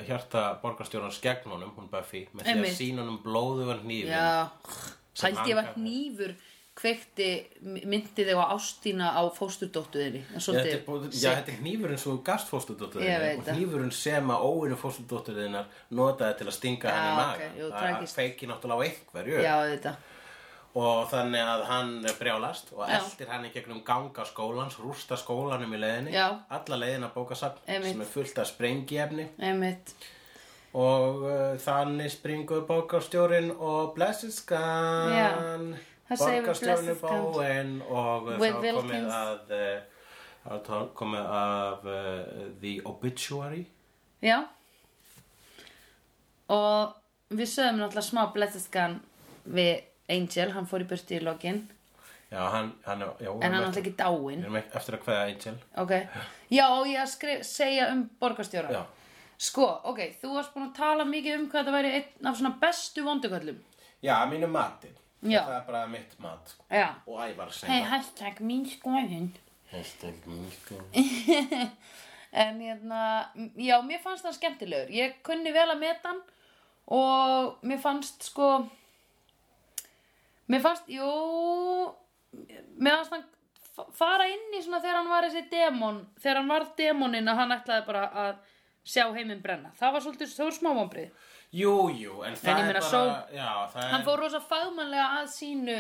B: hjarta borgarstjórans gegn honum, hún Buffy, með því að
A: Einmitt.
B: sína honum blóðugan hnífin.
A: Já,
B: Sem
A: hældi ég var
B: angar.
A: hnífur kveikti, myndi þig á ástína á fósturdóttuðinni en
B: Já, þetta
A: svolítið
B: er, búið, já, þetta er hnífurinn sem þú gast
A: Ég
B: fóstudótturinn
A: veit
B: og
A: það.
B: hnífurinn sem að óinu fóstudótturinnar notaði til að stinga
A: Já,
B: hann í
A: ok,
B: maga.
A: jú,
B: það
A: tragist.
B: feiki náttúrulega á einhverju.
A: já, þetta
B: og þannig að hann brjálast og
A: Já.
B: eldir hann í gegnum ganga skólans rústa skólanum í leiðinni
A: Já.
B: alla leiðina bókasafn
A: Einmitt.
B: sem er fullt af sprengiefni
A: einmitt,
B: og uh, þannig springur bókarstjórin og blessiskan
A: Það segir við
B: bókarstjórin er
A: blessuð skan.
B: bóin og uh,
A: With
B: þá er komið
A: Wilkins.
B: að uh, þá er tó- komið af uh, The Obituary
A: já og við sögum náttúrulega smá blessaskan við Angel, hann fór í burti í lokin
B: já, hann, hann, já,
A: en hann er náttúrulega ekki dáinn
B: við erum ekki eftir að kveða Angel
A: ok, já, og ég að skrif, segja um borgarstjóra
B: já
A: sko, ok, þú varst búin að tala mikið um hvað þetta væri einn af svona bestu vonduköllum
B: Já, að mínu mati.
A: Já.
B: Það er bara mitt mat.
A: já,
B: Og ævar sem
A: hei, hashtag mín skoðin
B: Hashtag mýsku.
A: En hérna, já, mér fannst hann skemmtilegur. Ég kunni vel að meta hann og mér fannst sko, mér fannst, jú, mér fannst hann fa- fara inn í svona þegar hann var þessi demon, þegar hann varð demoninn að hann ætlaði bara að sjá heiminn brenna. Það var svolítið, það var smávanbrið.
B: Jú, jú, en það
A: En ég
B: er
A: meina,
B: bara...
A: sól-
B: Já, það
A: Hann
B: er...
A: fór rosa fagmannlega að sínu,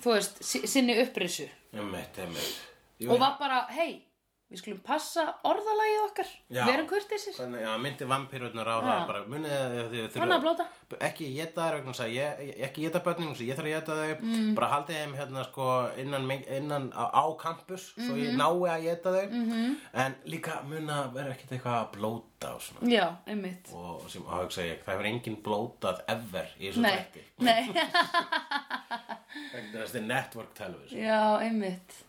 A: þú veist, sí- sinni upprisu
B: Emmett, emmett. Jú,
A: og var bara, hei, við skulum passa orðalagið okkar,
B: Já.
A: verum kurtisir,
B: Þannig að myndi vampirurnar á
A: Já.
B: það bara munið þið þið þurfa
A: hann að blóta.
B: ekki geta þær vegna þess að ég, ég- ekki geta börnin vegna þess að ég þarf að geta þau mm. bara haldið þeim hérna sko innan, meng- innan á, á campus svo
A: Mhm.
B: ég nái að geta þau -hmm. en líka muna vera ekkert eitthvað að blóta og svona
A: Já, einmitt.
B: og sem áhugsa ég, það hefur enginn blótað ever í þessu
A: Nei,
B: þætti
A: nei,
B: vegna þess að þetta er network television
A: já, einmitt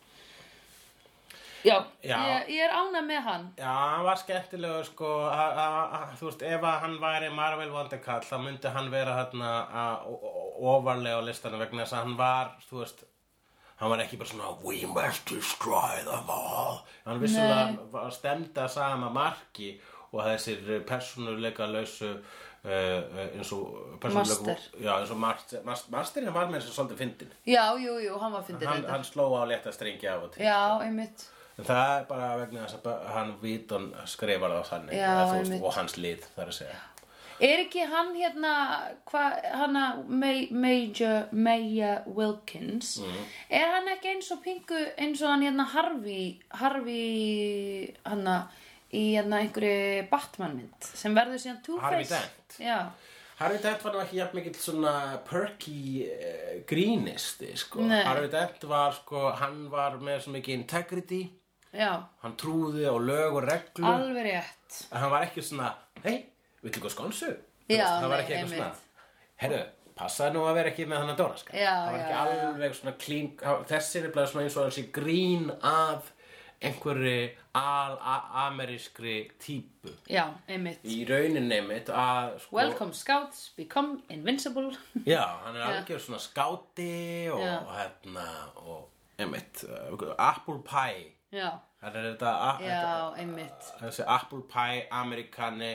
A: Já,
B: Já.
A: Ég, ég er ánægð með hann
B: Já, hann var skemmtilegur sko, a- a- a- þú veist, ef að hann væri Marvel Wonderkall, þá myndi hann vera hérna a- o- o- ofarlega á listanum vegna þess að hann var, þú veist, hann var ekki bara svona, we must destroy them all. Hann vissulega var stemda sama marki og þessir persónuleika lausu, uh, eins og persónuleika,
A: Master.
B: já, eins og master, master, masterinn var með þess að svolítið fyndin.
A: Já, jú, jú, hann var fyndið
B: Hann,
A: þetta
B: hann sló á létta strengi af og til.
A: Já, einmitt
B: En það er bara vegna þess að bö- hann víton skrifar það þannig
A: Já,
B: eða þú veist,
A: einmitt.
B: og hans lið þar að segja.
A: Er ekki hann hérna hvað, hana May, Major Maya Wilkins
B: Mm.
A: er hann ekki eins og pingu eins og hann hérna Harvey Harvey hana í hérna einhverju Batman mynd sem verður síðan
B: Harvey
A: Two-Face
B: Dent.
A: Já,
B: Harvey Dent var nú ekki jafn mikill svona perky uh, grínisti sko.
A: Nei.
B: Harvey Dent var sko, hann var með svo mikið integrity,
A: já,
B: hann trúði á lög og reglu,
A: alveg rétt
B: en hann var ekki svona, hei, viltu ekki skonsu? Þú
A: Já,
B: veist, það var
A: nei,
B: ekki eitthvað
A: einmitt.
B: svona, herru, passaði nú að vera ekki með hann að dóra sko.
A: Já,
B: það var
A: já,
B: ekki
A: já.
B: alveg svona clean, hann- þessi er bara svona eins og hann sé grín að einhverri al-amerískri típu.
A: Já, einmitt
B: í rauninni mitt að sko,
A: Welcome scouts, become invincible
B: já, hann er algjör svona skáti og
A: Já.
B: hérna og einmitt, uh, apple pie
A: Já,
B: hann er þetta, a-
A: já,
B: þetta
A: einmitt
B: þessi apple pie amerikani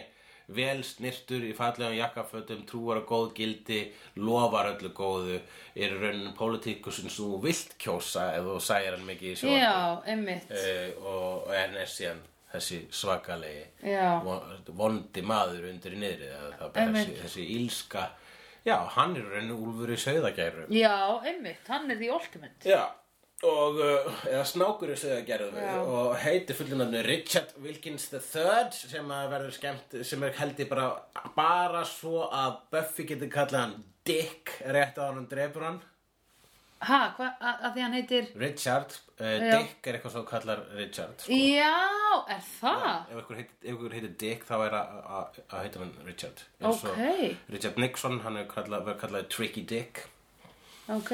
B: vel snirtur í fallegum jakkafötum, trúar að góð gildi, lofar öllu góðu, er í rauninni pólitíkusinn sem þú vilt kjósa ef þú sæir hann mikið í sjónvarpi.
A: Já, einmitt.
B: Eh, og og en er síðan þessi svakalegi
A: Já.
B: von- vondi maður undir í niðri eða það bara
A: Einmitt.
B: þessi, þessi ílska já, hann er enn úlfur í sauðagæru
A: Já, einmitt. Hann er því ultimate.
B: já, og uh, eða snákur í sauðagæru og heitir fullinannu Richard Wilkins III sem að verður skemmt sem er held ég bara bara svo að Buffy getur kallað hann Dick rétt á hann drefur hann
A: Ha, hvað, að að því hann heitir...
B: Richard, uh,
A: Já.
B: Dick er eitthvað svo kallar Richard sko.
A: Já, er það?
B: ef einhver heitir- ef einhver heitir Dick þá er að- að að heita hann Richard Eins og
A: Ókei.
B: Richard Nixon, hann er kallað, verið kallað Tricky Dick
A: Ok.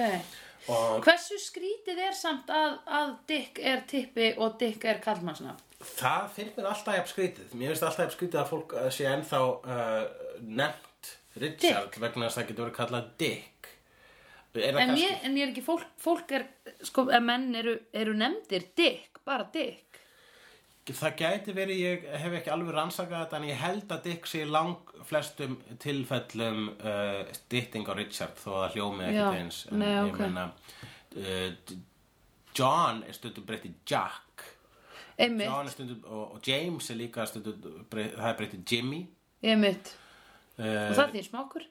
B: og
A: Hversu skrítið er samt að, að Dick er tippi og Dick er kallmannsnafn?
B: það finnst mér alltaf jafn skrítið mér finnst alltaf jafn skrítið að fólk eh, sé ennþá uh, nefnt Richard vegna þess að það getur verið kallað Dick er það
A: En
B: kannski
A: ég, en ég er ekki, fólk, fólk er, sko, en menn eru, eru nefndir Dick, bara Dick.
B: það gæti verið, ég hef ekki alveg rannsakað þetta en ég held að Dick sé í lang flestum tilfellum uh, stytting á Richard þó að það hljómi
A: Já,
B: ekkert eins en
A: nei,
B: ég
A: ok.
B: meina uh, John er stundum breytt í Jack
A: Einmitt,
B: John er stundum og, og James er líka stundum breytt, það er breytt í Jimmy
A: einmitt.
B: uh,
A: Og það er því smákur.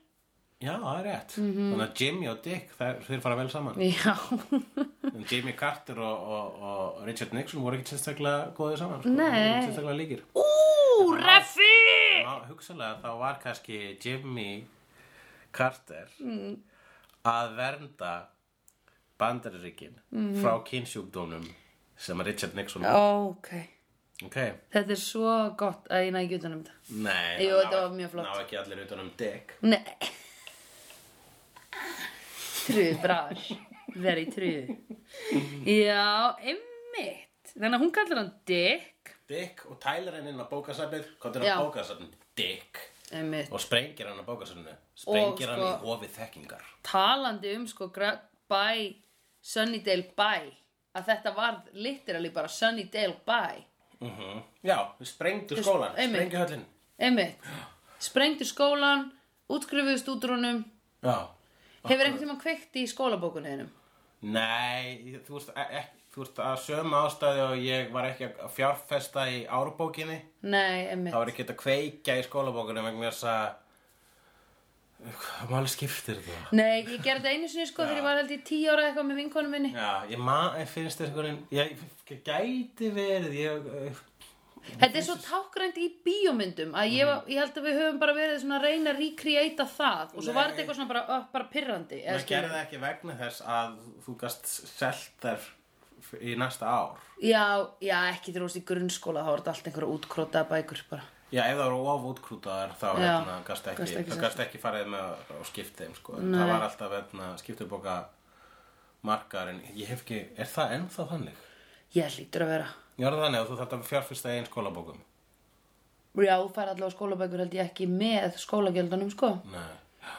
B: já, það er rétt
A: Mhm.
B: þannig að Jimmy og Dick, það, þeir fara vel saman
A: Já,
B: en Jimmy Carter og, og, og Richard Nixon voru ekkert sérstaklega góðið saman sko.
A: Nei.
B: Þeir voru sérstaklega líkir
A: ú, reffi!
B: Já, hugsalega þá var kannski Jimmy Carter
A: Mm.
B: að vernda bandaríkin
A: Mhm.
B: frá kynsjúkdónum sem að Richard Nixon
A: Ok,
B: ok,
A: þetta er svo gott að ég næ ekki utan um þetta.
B: nei
A: Jú,
B: það
A: þetta var mjög flott.
B: ná ekki allir utan um Dick
A: Nei. Trúð, bráður. Veri trúð. Já, einmitt. Þannig að hún kallar hann Dick.
B: Dick og tælar henni inn á bókasafnið kontur
A: Já.
B: á bókasafnið, Dick
A: Einmitt.
B: og sprengir hann á bókasafninu sprengir hann
A: sko-
B: í hofið þekkingar
A: Talandi um sko gra- bæ, Sunnydale bæ. Að þetta var literally bara Sunnydale bæ.
B: uh já, sprengdu skólan,
A: einmitt.
B: sprengdu höllin
A: Einmitt. Sprengdu skólan, útskrifuðust útrunum.
B: já,
A: Hefur einhvern tímann kveikt í skólabókunni hennum?
B: Nei, þú veist, e- e- þú veist að sömu ástæði og ég var ekki að fjárfesta í árbókinni.
A: Nei, einmitt.
B: Það var ekki að kveikja í skólabókunni vegna þess að... Hvað máli skiptir það?
A: Nei, ég gerði þetta einu sinni sko þegar ég var held í tíu ára eitthvað með vinkonum minni.
B: Já, ég ma, ég finnst þess einhvern veginn, ég gæti verið, ég, eh,
A: Þetta er svo tákrænt í bíómyndum að ég, var- ég held að við höfum bara verið svona að reyna að recreata það og svo var
B: Nei.
A: þetta eitthvað svona bara, uh, bara pirrandi. eða
B: maður
A: skilur.
B: gerði það ekki vegna þess að þú gast selt þær f- í næsta ár.
A: Já, já, ekki þrjóðast í grunnskóla, þá var þetta allt einhverja útkrótaða bækur bara.
B: Já, ef það voru of útkrútaðar þá
A: Já,
B: hérna, gast ekki,
A: gast ekki
B: ekki,
A: selt.
B: gast ekki farið með og skipt þeim sko. En Það var alltaf hérna, skiptuboka markaðarinn. Ég hef ekki, er það ennþá þannig?
A: Ég hlýtur að vera.
B: Ég var það þannig að þú þarf að fjárfyrsta einn skólabókum.
A: Já, þú fær allavega skólabækur held ég ekki með skólagjöldunum sko.
B: Nei, já,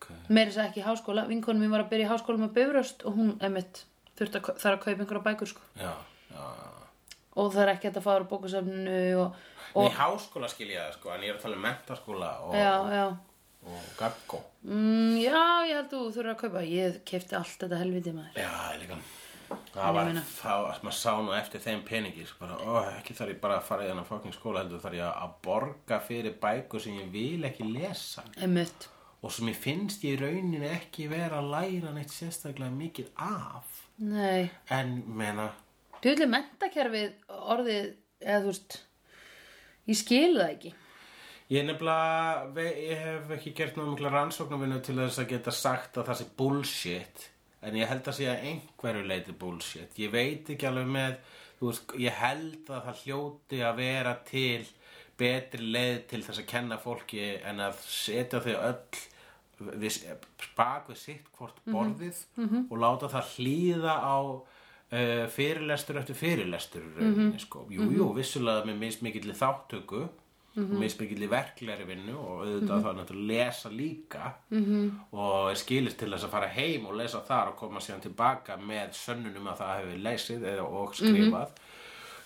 B: ok.
A: Meira þess að ekki í háskóla, vinkonum mín var að byrja í háskóla með bifröst og hún, einmitt, þurfti að, kau- þarf að kaupa einhverja bækur sko.
B: Já, já, já.
A: Og það er ekki hægt að fara úr bókasafninu og, og,
B: Og... Í háskóla skil ég það sko, en ég er að tala um mentaskóla og,
A: já, já.
B: og gaggó.
A: Mm, já, ég held þú þurfa að kaupa. Ég kefti allt þetta helviti maður.
B: Já, það er líka. Það var,
A: meina-
B: það var, maður sá nú eftir þeim peningi, sko, bara, ó, ekki þarf ég bara að fara í þennan fokking skóla, heldur þarf ég að borga fyrir bækur sem ég vil ekki lesa.
A: Einmitt.
B: og sem ég finnst ég í rauninni ekki vera að læra neitt sérstaklega mikið af
A: Nei.
B: en meina
A: Þú vilja mentakerfið orðið, eða þú veist, ég skil það ekki.
B: ég nefnilega ve- ég hef ekki gert náðu mikla rannsóknarvinnu til þess að geta sagt að það sé bullshit en ég held að sé að einhverju leiti bullshit ég veit ekki alveg með þú veist, ég held að það hljóti að vera til betri leið til þess að kenna fólki en að setja þau öll við, bak við sitt hvort borðið og láta það hlýða á uh, fyrirlestur eftir fyrirlestur í rauninni, sko. jú, jú, vissulega með mismikilli þáttöku mm -hmm. mismikilli verklegri vinnu og auðvitað mm -hmm. þá náttúrulega lesa líka -hmm. og er skilist til þess að fara heim og lesa þar og koma síðan tilbaka með sönnunum að það hefur lesið eða og skrifað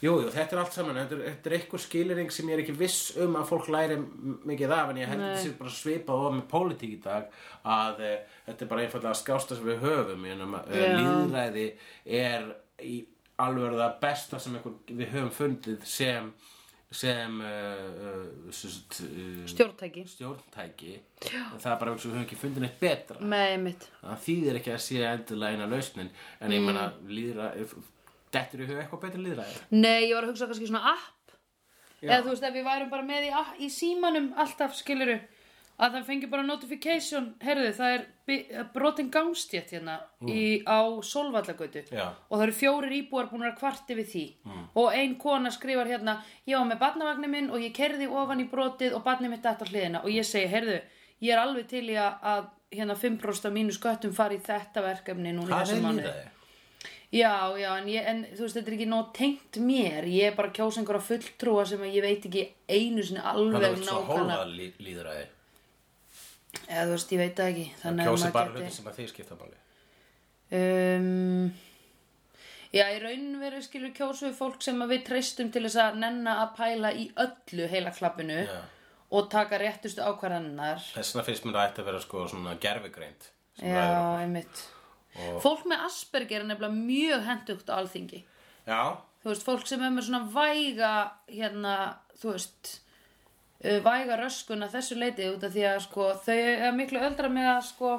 B: Jú, jú, þetta er allt saman, þetta er, þetta er eitthvað skiliring sem ég er ekki viss um að fólk læri m- mikið af en ég held að þetta sé bara svipað og með pólitík í dag að e, þetta er bara einfallega skásta sem við höfum ég nema, e,
A: Já.
B: líðræði er í alveg það besta sem einhver, við höfum fundið sem sem e, e,
A: Stjórntæki.
B: stjórntæki en það er bara eins og við höfum ekki fundið neitt betra
A: Nei, mitt.
B: það þýðir ekki að sé endilega eina lausnin en ég meina líðra dettur í hug eitthvað betur líðræði
A: Nei, ég var að hugsa kannski svona app. Eða þú veist, ef við værum bara með í, app- í símanum alltaf, skiluru, að það fengi bara notification, herðu, það er bi- brotin gangstjætt hérna í, á Solvallagötu.
B: Já.
A: Og það eru fjórir íbúar búin að kvarti við því. Og ein kona skrifar hérna, ég var með barnavagnin minn og ég kerði ofan í brotið og barnið mitt þetta hliðina. Og ég segi, herðu, ég er alveg til í að, að hérna 5% af mínu sköttum fari í þetta verkefni núna í
B: Það
A: þessum
B: er
A: mánuði.
B: líðræði
A: Já, já, en, ég, en þú veist, þetta er ekki nóg tengt mér. Ég er bara að kjósa einhverja fulltrúa sem að ég veit ekki einu sinni
B: Það
A: alveg
B: er svo
A: nákvæmlega.
B: hólfað lí- líðræði
A: Eða þú veist, ég veit það ekki. Þannig að
B: Kjósi bara
A: maður
B: hluti
A: geti...
B: sem að þið skipta máli
A: Um, já, í raun veru skilur kjósu við fólk sem að við treystum til þess að nenna að pæla í öllu heila klappinu
B: Já.
A: og taka réttustu ákvarðanar.
B: Þess vegna finnst mér það ætti að vera sko svona gerfugreind sem ræður okkur.
A: Já, einmitt. Fólk með Asperger er nefnilega mjög hendugt á alþingi.
B: Já,
A: þú veist, fólk sem er með svona væga hérna, þú veist uh, væga röskun að þessu leiti út af því að sko, þau er miklu öldra með að sko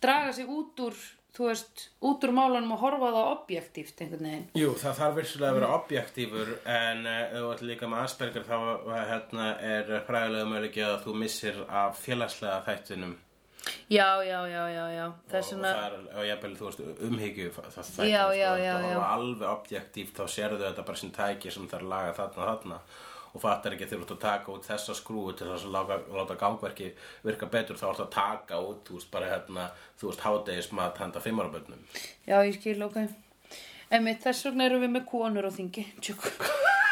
A: draga sig út úr, þú veist út úr málunum og horfa á það objektíft einhvern veginn.
B: Jú, það þarf virsulega að vera objektífur en uh, ef þú ert líka með Asperger þá eh, hérna, er fræðilega möguleiki að þú missir af félagslega þættinum
A: Já, já, já, já, já
B: og,
A: þess vegna,
B: það er, og jafnvel, þú veist, umhyggju það þættinum,
A: Já, já,
B: sko,
A: já,
B: það
A: já.
B: var alveg objektíft þá sérðu þetta bara sem tæki sem þarf að laga þarna og þarna og fattar ekki þegar þú ert að taka út þessa skrúu til þess að lága, láta gangverki virka betur þá ert að taka út, þú veist, bara hérna þú veist, hádegismat handa fimmaraböndum
A: já, ég skil, ok einmitt, þess vegna erum við með konur á þingi tjúk,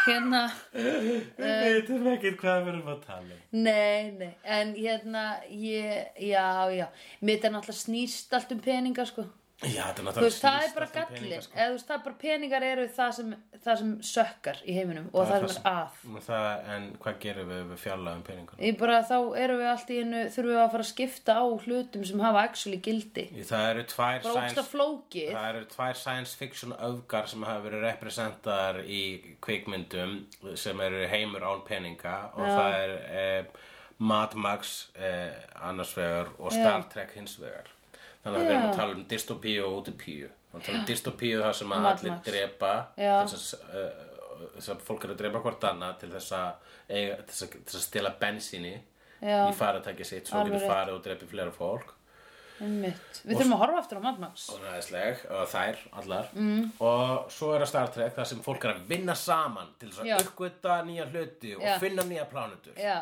A: hérna
B: Við
A: Eh,
B: veitum ekki hvað við erum að tala um
A: Nei, nei, en hérna ég, já, já, mitt er náttúrulega snýst allt um peninga, sko
B: Já, þetta er
A: Þú
B: náttúrulega
A: veist, það er
B: snýst
A: bara
B: allt um
A: gallin
B: peninga,
A: sko. eða þú veist, það er bara peningar eru það sem, það sem sökkar í heiminum og það, sem er að
B: Nú Það, en hvað gerum við við fjarlæðum peninguna?
A: ég bara þá erum við allt í hennu þurfum við að fara að skipta á hlutum sem hafa actually gildi
B: Í- Það eru tvær
A: bara ógsta
B: science,
A: flókið
B: það eru tvær science fiction öfgar sem hafa verið representaðar í kvikmyndum sem eru heimur án peninga og það er eh, Mad Max eh, annars vegar og Star Trek hins vegar. Þannig að við erum
A: Já.
B: að tala um dystopíu og utopíu. Við erum að tala um dystopíu þar sem að
A: Mad
B: allir
A: Max.
B: drepa
A: Já.
B: til þess að, eh, þess að fólk eru að drepa hvort annað til þess að, eiga, til þess að, til þess að stela bensíni
A: Já.
B: í faratæki sitt svo
A: Alveg
B: getur
A: rétt.
B: farið og drepið fleira fólk
A: Einmitt. við þurfum að horfa aftur á Mad Max
B: og næðisleg og þær allar mm. og svo er að Star Trek þar sem fólk er að vinna saman til þess
A: Já.
B: að uppgöta nýja hluti og
A: Já.
B: finna nýja plánutur
A: já,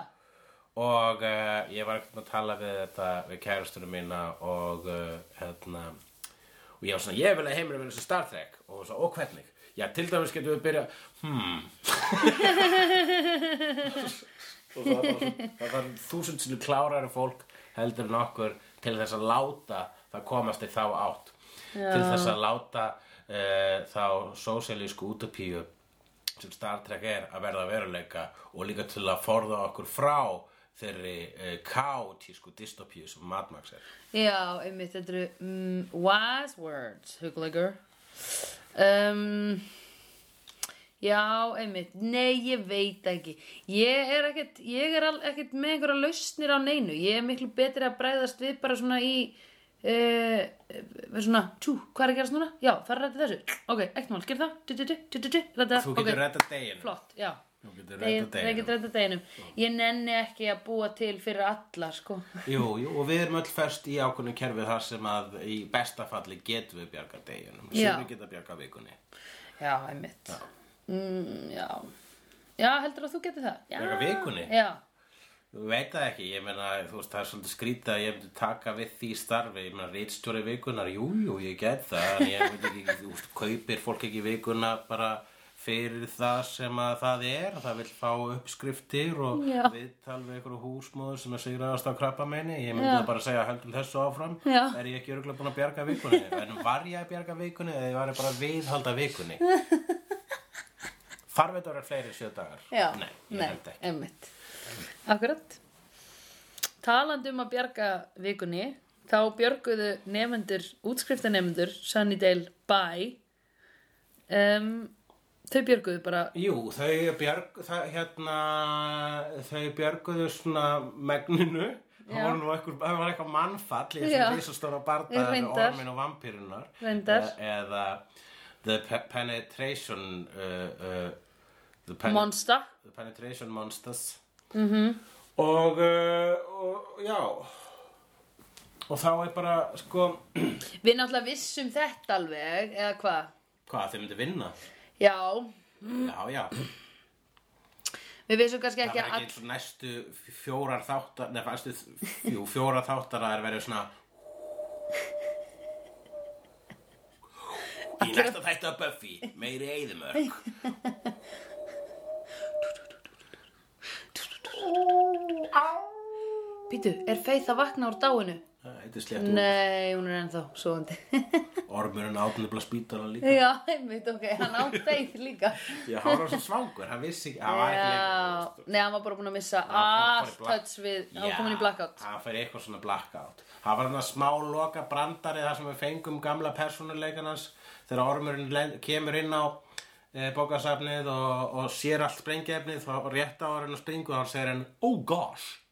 B: og uh, ég var ekkert að tala við þetta við kærastunum mína og uh, hérna og ég var svona, ég vil að heimurinn verið þessu Star Trek og svo, og hvernig? Já, til dæmis getum við byrja hmm og það var, bara- það var þúsund sinni klárari fólk heldur en okkur til þess að láta það komast í þá átt til þess að láta uh, þá sósialísku útapíu sem Star Trek er að verða að veruleika og líka til að forða okkur frá þeirri uh, kaotísku dystopíu sem Mad Max er
A: já, einmitt þetta eru mm, wise words, hugleikur um, já, einmitt nei, ég veit ekki ég er ekkert, ég er al- ekkert með einhverja lausnir á neinu, ég er miklu betri að bræðast við bara svona í uh, svona, tjú, hvað er að gerast núna? já, það er rættið þessu, ok, ekkert mál gerð það, tu, tu, tu, tu, tu, tu, rættið það
B: Þú
A: ok,
B: getur redda deginu
A: flott, já
B: Þú getur
A: Ég
B: redda
A: ég
B: deginu
A: get rættið deginum ég nenni ekki að búa til fyrir alla sko,
B: Jú, jú, og við erum öll fest í ákveðnu kerfi þar sem að í besta falli getum við bjarga deginum sem
A: Já.
B: við geta bjarga vikunni
A: já, einmitt já, mm, já. já heldur að þú getur það? Já.
B: Bjarga vikunni?
A: já,
B: Þú veit það ekki, ég meina, þú veist, það er svolítið skrítið að ég myndi taka við því starfi, ég meina, rítstjóri vikunar, jú, jú, ég get það, en ég veit ekki, þú veist, kaupir fólk ekki vikuna bara fyrir það sem að það er, það vil fá uppskriftir og
A: Já.
B: viðtal við einhverju húsmóður sem er sigraðast á krabbameini, ég myndi
A: Já.
B: bara segja, heldum þessu áfram,
A: Já.
B: er ég ekki örgulega búin að bjarga vikunni, en var ég að bjarga vikunni eða ég var bara að viðhalda vikunni? Þarf þetta að vera fleiri en sjö dagar?
A: Já,
B: Nei, ég
A: nei,
B: held ekki.
A: emmitt Akkurat Talandi um að bjarga vikunni þá björguðu nefendur útskriftanemendur Sunnydale Bye um, þau björguðu bara
B: Jú, þau, björg, það, hérna, þau björguðu svona megninu.
A: Já.
B: Það var nú einhver, það var eitthvað mannfall í
A: Já.
B: þessum risastóra bardaðar með
A: Reyndar.
B: ormin og vampírunar.
A: Reyndar.
B: Eða The Pe- Penetration, uh, uh, the, pen,
A: monsta
B: the Penetration Monsters.
A: Mhm.
B: Mm -hmm. og, uh, og, já, og þá er bara, sko,
A: Við náttúrulega vissum þetta alveg eða hvað?
B: hvað, þau myndi vinna?
A: Já, Mm.
B: Já, já.
A: við vissum kannski
B: það
A: ekki
B: verður
A: að
B: ekki eins og næstu fjórar þáttar nefn, næstu, jú, fjórar þáttar að það er verið svona í næsta þættu að Buffy meiri eyðumörk
A: Býtu, er Faith að vakna úr dáinu?
B: þetta er slett úr
A: Nei, hún er ennþá svoandi
B: ormurinn átnubla spítala líka
A: Já, einmitt, ok, hann átt þeir líka
B: ég hára svo svangur, hann vissi ekki hann var
A: Já,
B: ekki
A: nei, hann var bara búin að missa
B: bara
A: allt
B: fór í black-
A: touch við, hann
B: Já,
A: var komin í blackout
B: hann fyrir eitthvað svona blackout hann var hann smá loka brandari þar sem við fengum gamla persónuleikan hans þegar ormurinn len- kemur inn á e, bókasafnið og, og sér allt sprengjefnið þá rétt á orðinu springu og hann segir hann oh gosh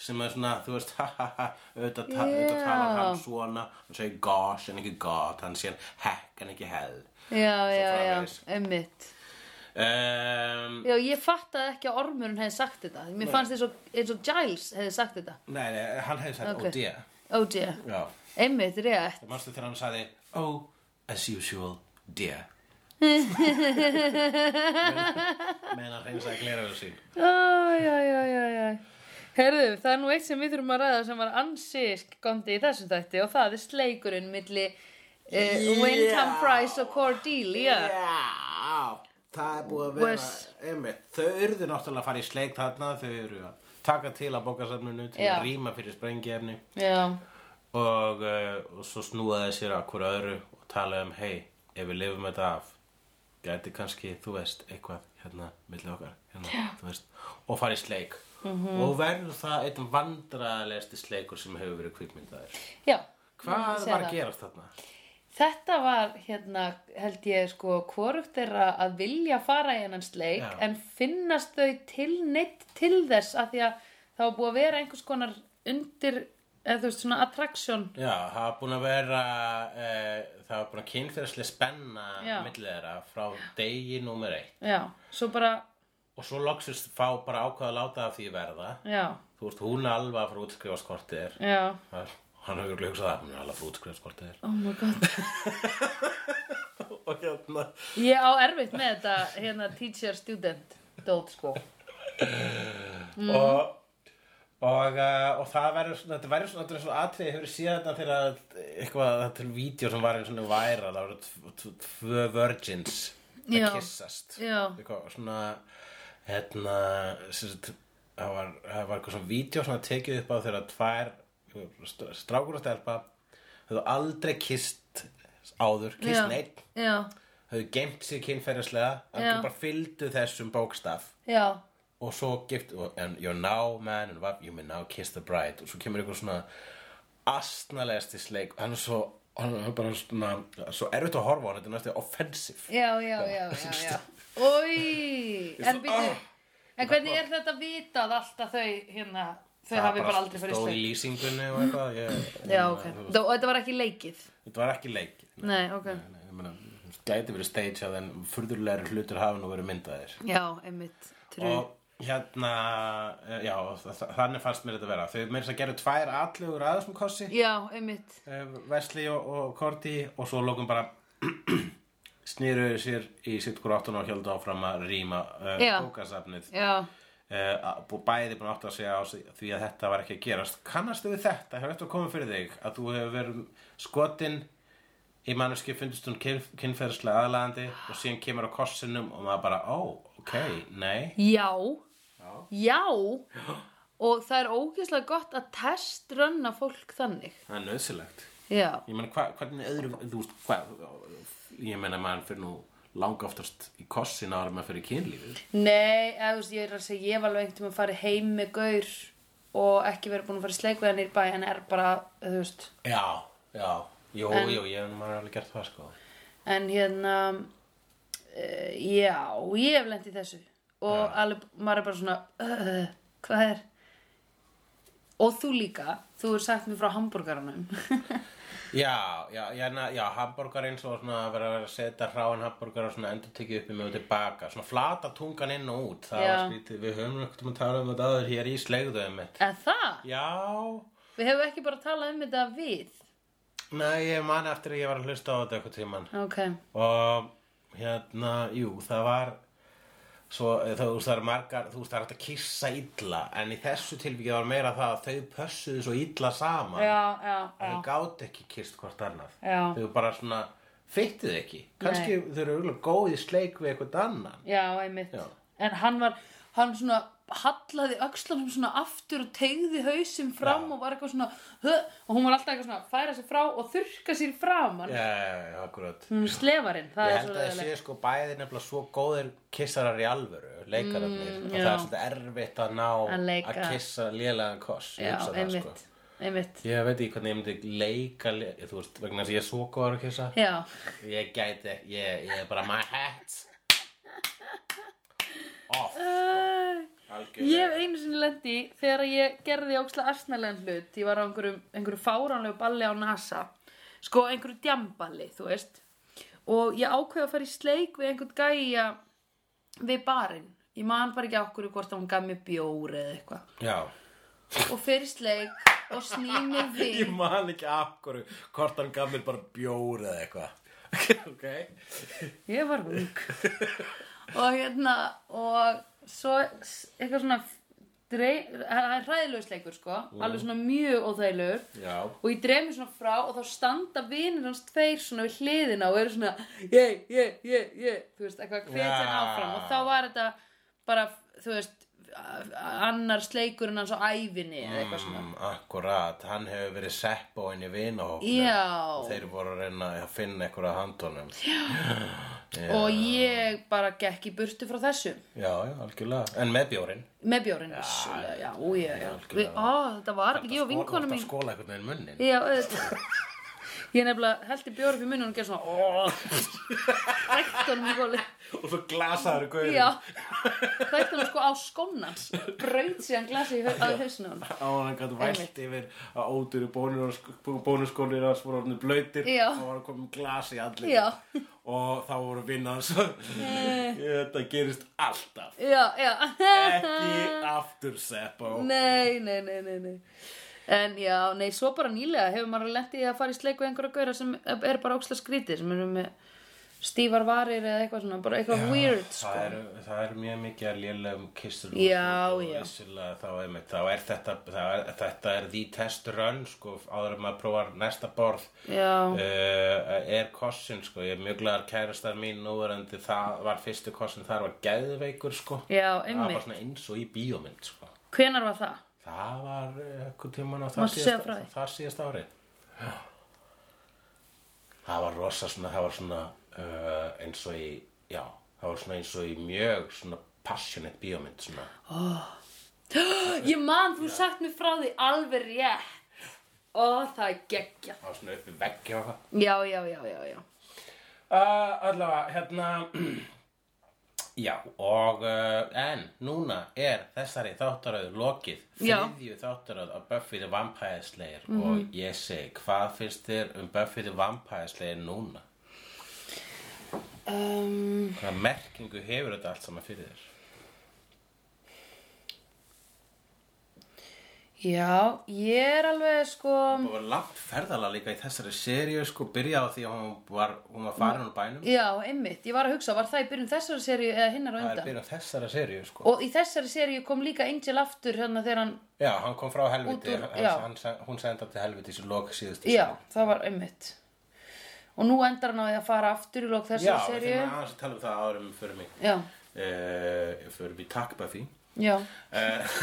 B: sem er svona, þú veist, ha ha ha auðvitað ta auðvitað
A: Já.
B: talar hann svona hann segir gosh en ekki god hann segir heck en ekki hell
A: Já, já, já,
B: framvegis.
A: einmitt
B: um,
A: Já, ég fattaði ekki að Ormurinn hefði sagt þetta Mér fannst eins og, eins og Giles hefði sagt þetta
B: nei, nei, hann hefði sagt
A: Ok.
B: oh dear
A: Oh dear,
B: já
A: einmitt, rétt
B: Það manstu þegar hann sagði Oh, as usual, dear Meðan hann hreinsaði gleraðu sín
A: Æ, já, já, já, já Herðu, það er nú eitt sem við þurfum að ræða sem var ansisk gondi í þessum þætti og það er sleikurinn milli uh, Wyndham Price og Cordelia
B: Já, það er búið að vera
A: Was-
B: einmitt, Þau urðu náttúrulega að fara í sleik þarna Þau eru að taka til að bókasafninu Til
A: Já.
B: að rýma fyrir sprengjefni
A: Já,
B: og, uh, og svo snúa þeir sér að hverju öðru Og tala um, hei, ef við lifum þetta af Gæti kannski, þú veist, eitthvað Hérna, milli okkar hérna, þú veist, Og fara í sleik
A: Mhm.
B: -hmm. Og verður það einn vandræðalegsti sleikur sem hefur verið kvikmyndaður
A: já
B: Hvað
A: Segðu
B: var
A: það.
B: að gerast þarna?
A: Þetta var, hérna, held ég, sko, hvorugt þeirra að vilja fara í hennan sleik
B: Já.
A: en finnast þau tilneitt til þess að því að það var búið að vera einhvers konar undir, eða þú veist, svona attraction.
B: Já, það var búin að vera uh, það var búin að kynferðslega spenna
A: Já.
B: milli þeirra frá degi númer eitt
A: Já, svo bara,
B: og svo loksist fá bara ákvað að láta af því verða
A: já,
B: þú veist, hún er alveg að fara útskrifaskortið er
A: já,
B: hann hefur glöksað það, hún er alveg að fara útskrifaskortið er
A: oh my god.
B: og hérna
A: Ég á erfitt með þetta, hérna, teacher-student dót, sko. Mm.
B: og Og, uh, og það verður svona, þetta verður svona, þetta er svona atriði, hefur síðan þetta þegar eitthvað, þetta er vídeo sem var einu svona væra, það voru tv- tv- tvö virgins að
A: Já.
B: kyssast.
A: Já.
B: Eitthvað svona, hérna, sem sagt, það var, það var eitthvað svona vídeo sem var tekið upp á þegar tvær str- strákur og stelpa höfðu aldrei kysst áður, kysst
A: Já.
B: neitt,
A: Já,
B: höfðu geimt sig kynferðislega,
A: Já.
B: en bara fylgdu þessum bókstaf
A: já,
B: og svo gift and you're now man and what you may now kiss the bride og svo kemur einhver svona astnalegasti sleik hann er svo hann er bara svona svo erfitt að horfa á hann þetta er næstu offensive
A: já, já, já, já, já. Ói, en býttu,
B: "Ah."
A: en hvernig er þetta vitað allt að þau, hérna, þau hafi bara aldrei fyrir
B: stóð
A: sleik?
B: í lýsingunni og eitthvað ég,
A: Já, ok. Þó, og þetta var ekki leikið?
B: þetta var ekki leik
A: eh, Nei, ok.
B: Nei, ég meina, gæti verið stage að en furðurlegri hlutur hafa nú verið myndaðir
A: Já, einmitt. Trú.
B: og hérna eh, já þa- þa- þannig fannst mér þetta vera þau meira þess að gera tvær atlugur að þessum kossi
A: Já, einmitt.
B: Vesli Eh, og, og Korti og svo lókum bara snýruðu sér í sitt gróttun og hjöldu áfram að rýma uh,
A: Já.
B: bókasafnið
A: Já.
B: uh, bæði búin átt að segja á sig- því að þetta var ekki að gerast kannastu við þetta, hefur þetta komið fyrir þig að þú hefur verið skotin í manneski fundist hún kynf kynferðslega aðlandi og síðan kemur á kossinum og maður bara, ó, ok, nei
A: Já. Já. Og það er ógeðslega gott að testrunna fólk þannig.
B: það er nöðsilegt
A: Já.
B: Ég meina, hva, hvernig öðru, þú veist, hvað, ég meina, maður fyrir nú langa oftast í kossin ára maður fyrir kynlífið
A: Nei, eða þú veist, ég er að segja, ég var alveg einhvern tímann að fara heim með gaur og ekki verið búin að fara í sleik við hann í bæ, hann er bara, þú veist,
B: Já, já, jú,
A: En-
B: jú, ég hef maður alveg gert það sko
A: en hérna, e, já, ég hef lent í þessu og alveg, maður er bara svona, uh, hvað er? Og þú líka, þú er sagt mér frá hambúrgaranum.
B: Já, já, já, na, já, hambúrgar eins og svona að vera að setja hráin hambúrgar og svona endur tekið upp í mig og tilbaka svona flata tungan inn og út það
A: Já.
B: var skrítið, við höfum ekkert um að tala um þetta aður hér í slegðu um mitt
A: en það,
B: Já,
A: við hefum ekki bara talað um þetta við.
B: nei, ég man eftir að ég var að hlusta á þetta eitthvað tíman
A: Ok,
B: og hérna, jú, það var svo, eh, þú veist, það er margar þú veist, það er hægt að kissa illa en í þessu tilvikið var meira það að þau pössuðu svo illa saman
A: já, já,
B: að þau
A: já,
B: gátt ekki kyrst hvort annað
A: Já.
B: þau bara svona fyttið ekki kannski þau eru auðvitað góð í sleik við eitthvað annan
A: já, einmitt.
B: Já.
A: En hann var, hann svona hallaði öxlanum svona aftur og tegði hausinn fram og var eitthvað svona "Hö", og hún var alltaf eitthvað svona að færa sér frá og þurrka sér fram hann.
B: já, já, já, akkurat
A: Hún er slefarinn, það er
B: ég held
A: svo
B: að það
A: leðilegt.
B: sé sko bæði nefnilega svo góðir kissarar í alvöru leikararnir og
A: Mm, já.
B: það er svolítið erfitt að ná
A: Að leika.
B: kissa lélegan koss ég
A: Já,
B: hugsa það,
A: einmitt,
B: sko.
A: einmitt.
B: ég veit ekki hvernig ég myndi leika le- þú veist, vegna þess að ég er svo góður að kissa
A: Já,
B: ég gæti, ekki- ég, ég er bara my hat off
A: uh,
B: algjörlega
A: ég hef einu sinni lendi þegar ég gerði óksla arsnælegan hlut, ég var á einhverjum, einhverju fáránlegu balli á NASA, sko einhverju djamballi, þú veist, og ég ákveða að fara í sleik við einhvern gæja við barinn, ég man bara ekki okkur hvort að hún gaf mér bjóri eða eitthvað.
B: já
A: og fyrir sleik og sný mig við
B: Ég man ekki af hverju hvort hann gaf mér bara bjór eða eitthvað Ok
A: ég var ung og hérna og svo s- eitthvað svona drey, það er hræðilegur sleikur sko alveg svona mjög óþægilegur
B: Já
A: og ég dreif mig svona frá og þá standa vinir hans tveir svona við hliðina og eru svona ég, ég, ég, ég þú veist, eitthvað hvetjan
B: Já.
A: áfram og þá var þetta bara, þú veist a- annar sleikur en hans á ævinni eða eitthvað svona
B: mm, Akkurat, hann hefur verið sepp á henni vinahóknum
A: Já.
B: Þeir voru að reyna að finna eitthvað að handunum Já,
A: og ég bara gekk í burtu frá þessu
B: já, algjörlega En með bjórin
A: með bjórinn vissulega, já, já, já, já. Við,
B: algjörlega.
A: á, þetta var, ég og vinkonu mín
B: Það skóla eitthvað neginn munnin
A: já, auðvitað ég nefnilega held í bjór upp í munn og hún gerði svona hrækt honum í góli
B: Og svo glasaður gauður
A: já, hrækt honum sko á skónans braut síðan glasi í hau- að hausinu hann
B: Á hann gæti vælt yfir að ódýru bónuskólir að spora hann blöytir
A: Já.
B: og var að koma með glas í allir
A: Já. Eh.
B: og þá voru vinnans þetta gerist alltaf
A: já, já
B: ekki aftur Seppo
A: nei, nei, nei, nei, nei En já, nei, svo bara nýlega hefur maður lent í að fara í sleik við einhverja gauðra sem er bara óksla skrítið, sem eru með stífar varir eða eitthvað svona, bara eitthvað weird, sko.
B: það, er, það er mjög mikið að lélegum kissur
A: Já,
B: og
A: já.
B: vissulega þá er, mitt, þá er þetta það er, þetta er því test run sko, áður en maður prófar næsta borð
A: Já,
B: uh, er kossin sko, ég er mjög glæðar kærastar mín núverandi, það var fyrstu kossin þar var geðveikur sko
A: já,
B: það var
A: einmitt.
B: svona eins og í bíómynd sko.
A: Hvenær var það?
B: það var eh, eitthvað tíman á
A: Máttu
B: það
A: segja frá því?
B: síðast, það síðast ári það var rosa svona það var svona uh, eins og í já, það var svona eins og í mjög svona passionate bíómynd svona.
A: Ég man, þú sagt mér frá því alveg rétt. Ó, það er geggja.
B: það var svona upp í veggi og eitthvað
A: Já, já, já, já, já.
B: uh, allavega, hérna já, og uh, en núna er þessari þáttaröð lokið,
A: Já. Mhm.
B: þriðju þáttaröð af Buffy the Vampire Slayer og ég segi, hvað finnst þér um Buffy the Vampire Slayer núna?
A: Um,
B: Hvaða merkingu hefur þetta allt saman fyrir þér?
A: já, ég er alveg sko...
B: Það var langt ferðala líka í þessari seríu sko byrja á því að hún var, hún var farin úr bænum
A: Já, einmitt. Ég var að hugsa, var það í byrjun þessari seríu eða hinnar á
B: Það er
A: undan?
B: byrja á þessari seríu sko
A: Og í þessari seríu kom líka Angel aftur hérna þegar hann...
B: Já, hann kom frá
A: Út
B: helviti,
A: úr-
B: hann,
A: já.
B: hann, sen- hún senda til helviti sem lok síðustu
A: Já, það var einmitt. Og nú endar hann á því að fara aftur í lók
B: Já,
A: þessari
B: við
A: seríu.
B: þurfum aðeins að tala um það árum fyrir mig
A: Já,
B: uh, Fyrir við takk bara því
A: já,
B: uh,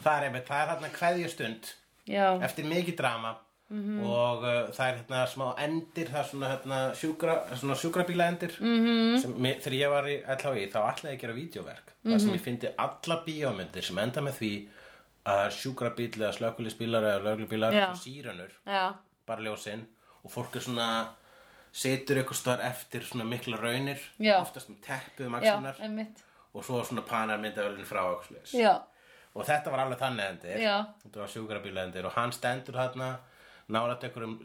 B: Það er einmitt, það er hann að kveðja stund
A: já,
B: eftir mikið drama
A: Mhm.
B: -hmm. og uh, það er hérna smá endir það er svona, hérna, sjúkra, svona sjúkrabíla endir mm
A: Mhm.
B: -hmm. sem, mér, þegar ég var í LHI þá ætlaði ég að gera vídeoverk það
A: Mhm.
B: sem ég fyndi alla bíómyndir sem enda með því að sjúkrabíl eða slökulisbílar eða löglubílar
A: Já.
B: og síranur,
A: já,
B: bara ljósinn og fólk er svona situr eitthvað stöðar eftir svona mikla raunir
A: Já.
B: oftast með teppu um
A: já,
B: axlunar
A: einmitt
B: og svo svona panar myndavölinn frá axlis
A: já,
B: og þetta var alveg þannig endir
A: Já.
B: þetta var sjúkrabíla endir og hann stendur þarna nálætt einhverjum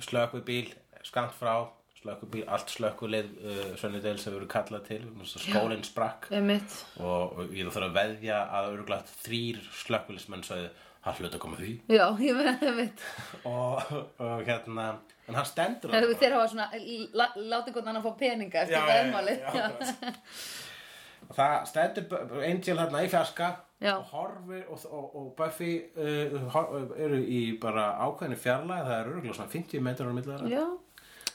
B: slökkubíl skammt frá slökkubíl, allt slökkulið uh, sönnudel sem verður kallað til vegna þess að skólinn sprakk
A: einmitt
B: og, og ég þarf að veðja að örgulega þrýr slökkulismenn sögðu hann hlut að koma því
A: já, ég veit, einmitt
B: og, og hérna, en hann stendur
A: Þegar
B: þarna.
A: þeir hafa svona, lá- látið hvernig annan fá peninga eftir
B: Já,
A: það
B: já, já,
A: umálið.
B: já, Og það stendur Bu- Angel hérna í fjarska
A: Já.
B: og horfir og, og, og Buffy uh, hor- eru í bara ákveðinu fjarlæð það eru örgulega svona 50 metrar á milli þeirra
A: Já,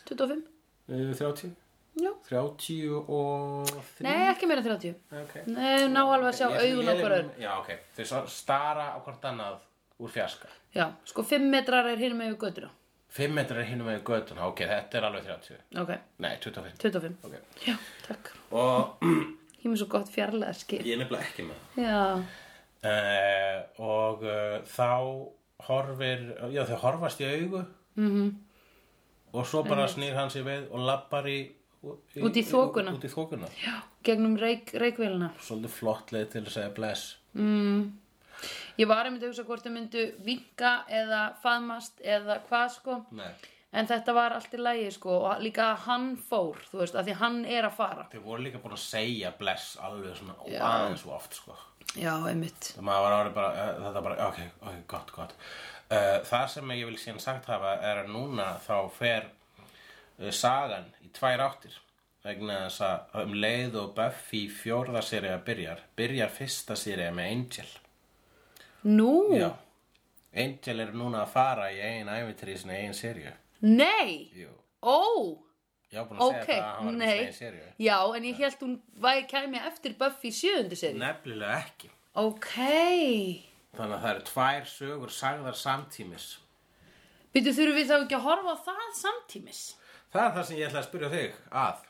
A: 25.
B: uh, 30
A: Já.
B: 30 og 3
A: Nei, ekki meira en 30.
B: okay.
A: Nei, ná alveg að sjá
B: Ég-
A: augun
B: ég-
A: okkur öðrum.
B: Já, ok, þau svo- stara á hvort annað úr fjarska
A: Já, sko 5 metrar er hinum yfir göttuna.
B: 5 metrar er hinum með göttun, ok, þetta er alveg 30
A: Ok,
B: Nei, 25
A: 25.
B: okay.
A: Já, takk.
B: Og
A: Ég er með svo gott fjarlæða skil.
B: ég er nefnilega ekki með það
A: Já,
B: Eh, og uh, þá horfir, já þau horfast í augu -hmm.
A: Mhm.
B: og svo bara snýr hann sér við og lappar í, í
A: Út í þokuna.
B: út í þokuna.
A: já, gegnum reik, reikvélina.
B: svolítið flott leið til að segja bless
A: Ég var einmitt að hugsa hvort þau myndu vinka eða faðmast eða hvað sko.
B: Nei.
A: En þetta var allt í lagi sko og líka að hann fór, þú veist, að því hann er að fara.
B: þau voru líka búin að segja bless alveg svona og aðeins og oft sko.
A: Já, einmitt.
B: það maður var árið bara, eh, þetta bara ok, ok, gott, gott uh, það sem ég vil síðan sagt hafa er að núna þá fer uh, sagan í tvær áttir vegna þess að um leið og Buffy fjórða sérija byrjar byrjar fyrsta sérija með Angel
A: Nú,
B: já Angel er núna að fara í eigin ævitri í sinni eigin sériju
A: nei,
B: Jú.
A: ó,
B: ég var búin að
A: ok,
B: segja það að hann var með
A: nei.
B: eigin sériju
A: Já, en ég held hún væri kæmi eftir Buffy sjöundu seri.
B: nefnilega ekki
A: Ok,
B: þannig að það eru tvær sögur sagðar samtímis
A: býtu þurfum við þá ekki að horfa á það samtímis?
B: Það er það sem ég ætla að spyrja þig að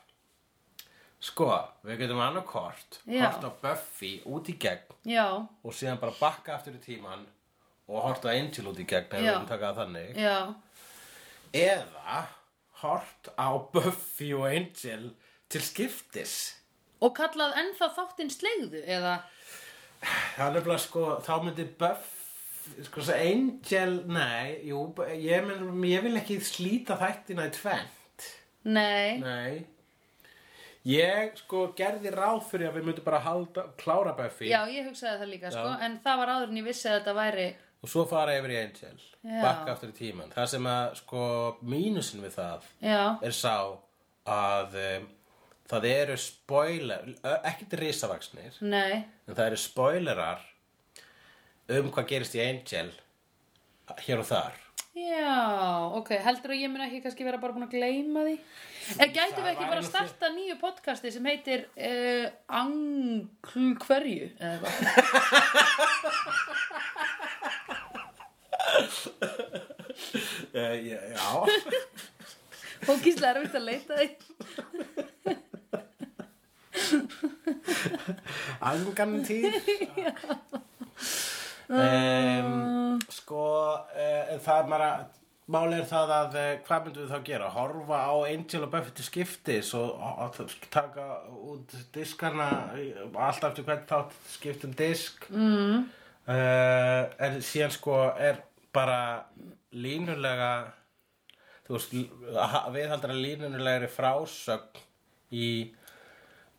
B: Sko, við getum annað kort
A: Já.
B: Hort á Buffy út í gegn
A: Já,
B: Og síðan bara bakka aftur í tíman Og hort á Angel út í gegn Ef við
A: Já.
B: erum takað það þannig
A: já,
B: Eða hort á Buffy og Angel Til skiptis
A: og kallað ennþá þáttinn slegðu eða,
B: Það er nefnilega sko, þá myndi Buffy Sko, þess að Angel, nei Jú, ég, men, ég vil ekki slíta þættina í tvennt
A: nei,
B: Nei Ég sko gerði ráð fyrir að við myndum bara halda, klára Buffy
A: já, ég hugsaði það líka, sko, en það var áður en ég vissi að þetta væri,
B: og svo fara yfir í Angel
A: Já.
B: bakka aftur í tíman það sem að sko mínusin við það
A: já,
B: er sá að um, það eru spoiler ö- ekkert risavaksnir
A: nei,
B: en það eru spoilerar um hvað gerist í Angel hér og þar
A: já, ok, heldur að ég mun ekki kannski vera bara búin að gleyma því? En gætum við
B: Það
A: ekki
B: væri
A: bara að
B: nú þér-
A: starta nýju podcasti sem heitir uh, Angl hverju, eða eitthvað?
B: uh, Já
A: Og gíslega er að leita því.
B: Angan tíð um, Sko uh, Það er bara Mál er það að uh, hvað myndum við þá gera? Horfa á Angel og Buffy til skiptis og, og, og taka út diskana uh, allt aftur hvern þátt skipt um disk mm. En síðan sko er bara línulega þú veist viðhaldara línulegri frásögn í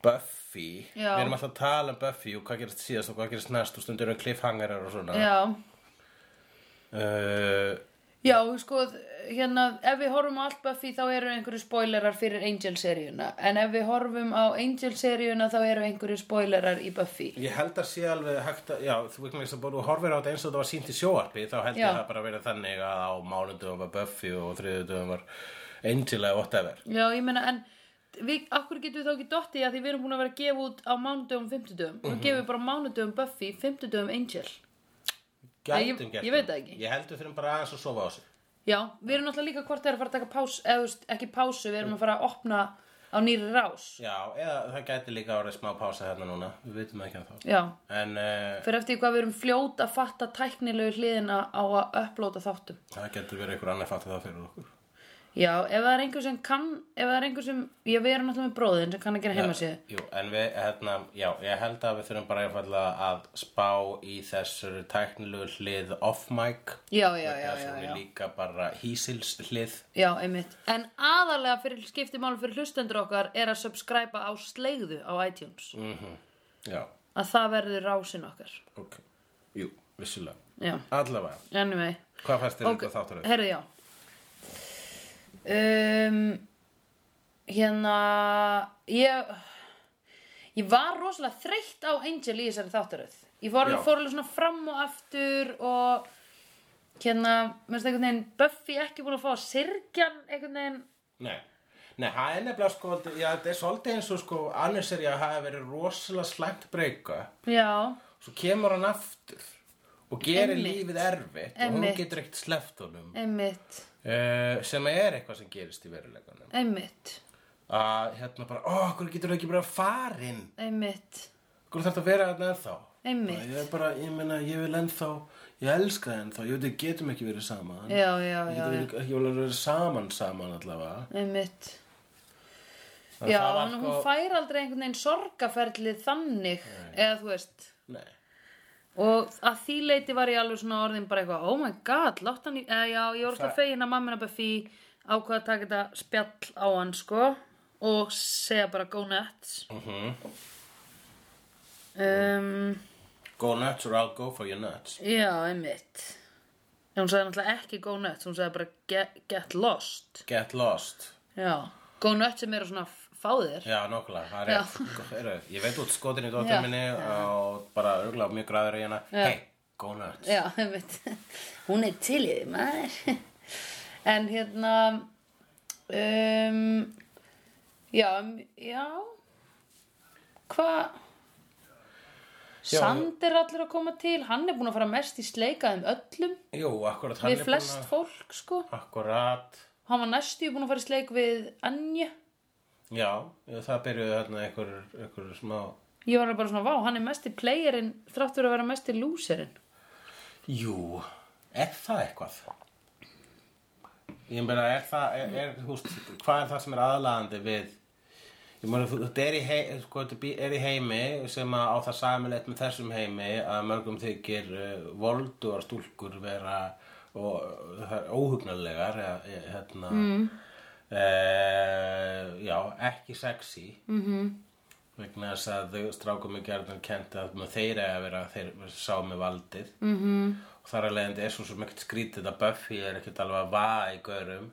B: Buffy
A: Já.
B: Við erum alltaf að tala um Buffy og hvað gerist síðast og hvað gerist næst og stundur um cliffhangerar og svona
A: Já,
B: uh,
A: já, sko, hérna, ef við horfum á allt Buffy þá eru einhverju spoilerar fyrir Angel-seríuna En ef við horfum á Angel-seríuna þá eru einhverju spoilerar í Buffy
B: Ég held að sé alveg hægt að, já, þú veikum þess að bara þú horfir á þetta eins og þetta var sínt í sjóarpi þá held
A: Já.
B: ég að það bara verið þannig að á mánudum var Buffy og þriðudum var Angel eða whatever
A: Já, ég meina, en við, akkur getum við þá ekki dottið að því við erum búin að vera að gefa út á mánudöfum, fimmtudöfum Nú gefum við bara mánudöfum Buffy, fimmtudöfum Angel
B: Gætum
A: Nei, ég-
B: gert
A: ég veit það ekki.
B: Ég held við þurfum bara aðeins að sofa á sig
A: Já, við erum náttúrulega líka hvort það er að fara að taka pásu, eða þú veist, ekki pásu, við erum að fara að opna á nýri rás.
B: Já, eða það gæti líka orðið smá pása hérna núna, við veitum ekki að þá.
A: Já,
B: En uh,
A: fyrir eftir því hvað við erum fljót að fatta tæknilegu hliðina á að upplóta þáttum.
B: það getur verið einhver annar fatta það fyrir okkur.
A: Já, ef það er einhver sem kann, ef það er einhver sem, já, við erum náttúrulega með bróðin sem kann að gera heimasíðu.
B: Eh, Jú, en við, hérna, já, ég held að við þurfum bara einfallega að spá í þessur tæknilegu hlið off-mic.
A: Já, já, já,
B: Þessu
A: já,
B: hún
A: já.
B: er líka bara hísils hlið.
A: Já, einmitt. En aðalega fyrir skiptimál fyrir hlustendur okkar er að subscriba á sleigðu á iTunes.
B: Já,
A: Að það verður rásin okkar.
B: ok. Jú, vissulega.
A: Já,
B: Allavega,
A: anyway.
B: hvað fannst þér
A: Ok,
B: okay. þáttur þau?
A: herðu, já. Um, hérna, ég, ég var rosalega þreytt á Angel í þessari þáttaröð. Ég fór alveg,
B: Já.
A: fór alveg svona fram og aftur og hérna, mér finnst einhvern veginn, Buffy ekki búin að fá að sirkja hann einhvern veginn.
B: Nei. Nei, það er nefnilega sko, já, þetta er svolítið eins og sko, annars er ég að hafa verið rosalega slæmt breyka.
A: Já,
B: Svo kemur hann aftur og gerir
A: Einmitt.
B: lífið erfitt og
A: Einmitt.
B: hún getur ekkert sleppt honum.
A: einmitt,
B: Uh, sem er eitthvað sem gerist í veruleikanum.
A: einmitt,
B: Að hérna bara, ó, hverju getur þú ekki bara farin?
A: einmitt,
B: Hverju þarf að vera þarna ennþá?
A: einmitt.
B: Ég er bara, ég meina, ég vil ennþá, ég elska það ennþá, ég veit, við getum ekki verið saman.
A: Já, já, já,
B: Við
A: já,
B: getum ekki- ekki verið verið saman saman allavega.
A: einmitt.
B: En
A: Já,
B: það var
A: en hún
B: sko-
A: fær aldrei einhvern veginn sorgaferlið þannig, eða þú veist...
B: Nei.
A: Og að því leiti var ég alveg svona orðin bara eitthvað, oh my god, látt hann í, eða já, ég var alltaf fegin að mamma hennar Buffy ákvað að taka þetta spjall á hann, sko, og segja bara go nuts. Um,
B: Go nuts or I'll go for your nuts.
A: já, einmitt. En hún sagði náttúrulega ekki go nuts, hún sagði bara get, get lost.
B: Get lost.
A: Já, go nuts sem eru svona fáðir.
B: Já, nokkulega, það er rétt. Heru, Ég veit út skotin í dóttir
A: Já.
B: minni og bara örgulega mjög græður í hana. Hey, go nuts.
A: Já, einmitt. Hún er til í því, maður. En hérna, um, já, um, já, hvað?
B: Já.
A: Sand er allir að koma til, hann er búinn að fara mest í sleikaðum öllum,
B: Jú, akkurat, hann
A: við flest
B: að...
A: fólk, sko.
B: Akkurat,
A: Hann var næstu búinn að fara í sleik við Anja.
B: já, það byrjuðu hérna einhver, einhver smá...
A: Ég var alveg bara svona, vá, hann er mest í playerinn, þráttur að vera mest í lúserinn.
B: Jú, er það eitthvað? Ég meina, er það, er, er, húst, hvað er það sem er aðlaðandi við Ég meina, þú- þetta er í, hei, sko, þetta bý- er í heimi sem að á það samilegt með þessum heimi að mörgum þykir uh, voldur stúlkur vera og uh, það er óhugnarlegar eða, e, hérna mm. já, ekki sexy mm -hmm. vegna þess að þau strákum í gerðan kent að með þeir eða vera þeir sá með valdið mm -hmm. og þar að leiðandi er svo sem ekkert skrítið að Buffy er ekkert alveg að vaða í görum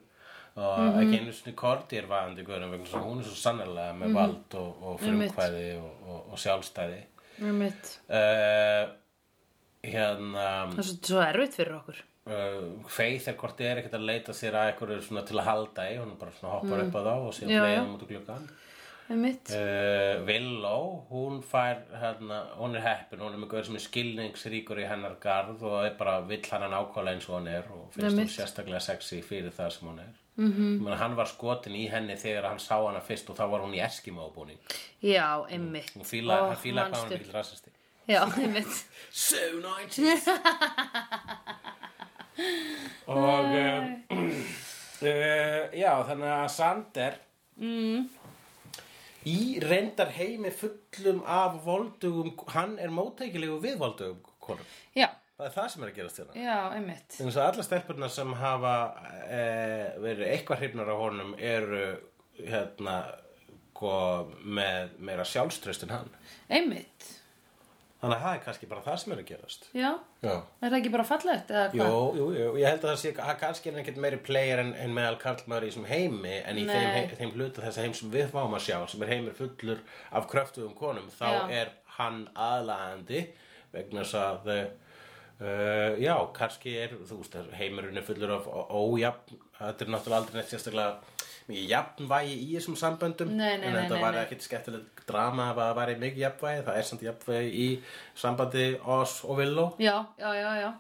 B: og
A: Mhm.
B: ekki einu svona Korti er vaðandi í görum vegna þess að hún er svo sannarlega
A: Mhm.
B: með vald og, og frumkvæði og, og, og sjálfstæði
A: Það er
B: uh, hérna
A: svo, svo erfitt fyrir okkur.
B: uh, Faith er hvort er ekkert að leita sér að einhverju svona til að halda í hún bara svona hoppar upp að þá og síðan
A: Mhm. Já, já.
B: leiðum út úr gluggan
A: Einmitt.
B: uh, Willow, hún fær hérna, hún er heppin, hún er með gaur sem er skilningsríkur í hennar garð og er bara vill hann hann ákvæðlega eins og hann er og finnst hún sérstaklega sexy fyrir það sem hún er mm
A: Mhm.
B: -hmm. hann var skotin í henni þegar hann sá hana fyrst og þá var hún í Eskimo búning
A: Já, einmitt.
B: og fíla,
A: Ó,
B: hann fílaði hvað hann
A: manstu.
B: er bíl rassisti
A: Já, einmitt.
B: So 90s Og uh, uh, Já, þannig að Sander Í reyndar heimi fullum af voldugum Hann er mótækilegu við voldugum konum
A: Já,
B: Það er það sem er að gerast hérna
A: já, einmitt.
B: Þannig að alla stelpurnar sem hafa e, verið eitthvað hrifnar á honum eru hérna sko, með meira sjálfstraust en hann
A: Einmitt,
B: Þannig að það er kannski bara það sem er að gerast
A: já.
B: Já
A: Er það ekki bara fallegt eða
B: Jú,
A: hvað?
B: jú, jú, ég held að það sé að kannski er ekkert meiri player en, en meðal karlmaður í þessum heimi en í
A: Nei.
B: þeim, hei, þeim hluta þessa heim sem við fáum að sjá sem er heimir fullur af kröftugum konum þá
A: Já.
B: er hann aðlaðandi vegna þess að uh, já, kannski er þú veist, að heimurinn er fullur af ó- ójafn þetta er náttúrulega aldrei neitt sérstaklega mikið jafnvægi í þessum samböndum
A: Nei, nei,
B: en
A: nei,
B: þetta
A: nei,
B: var
A: nei.
B: ekkert skemmtilegt drama ef að það væri mikið jafnvægi það er samt jafnvægi í sambandi Oz og Willow
A: Já, já, já, já.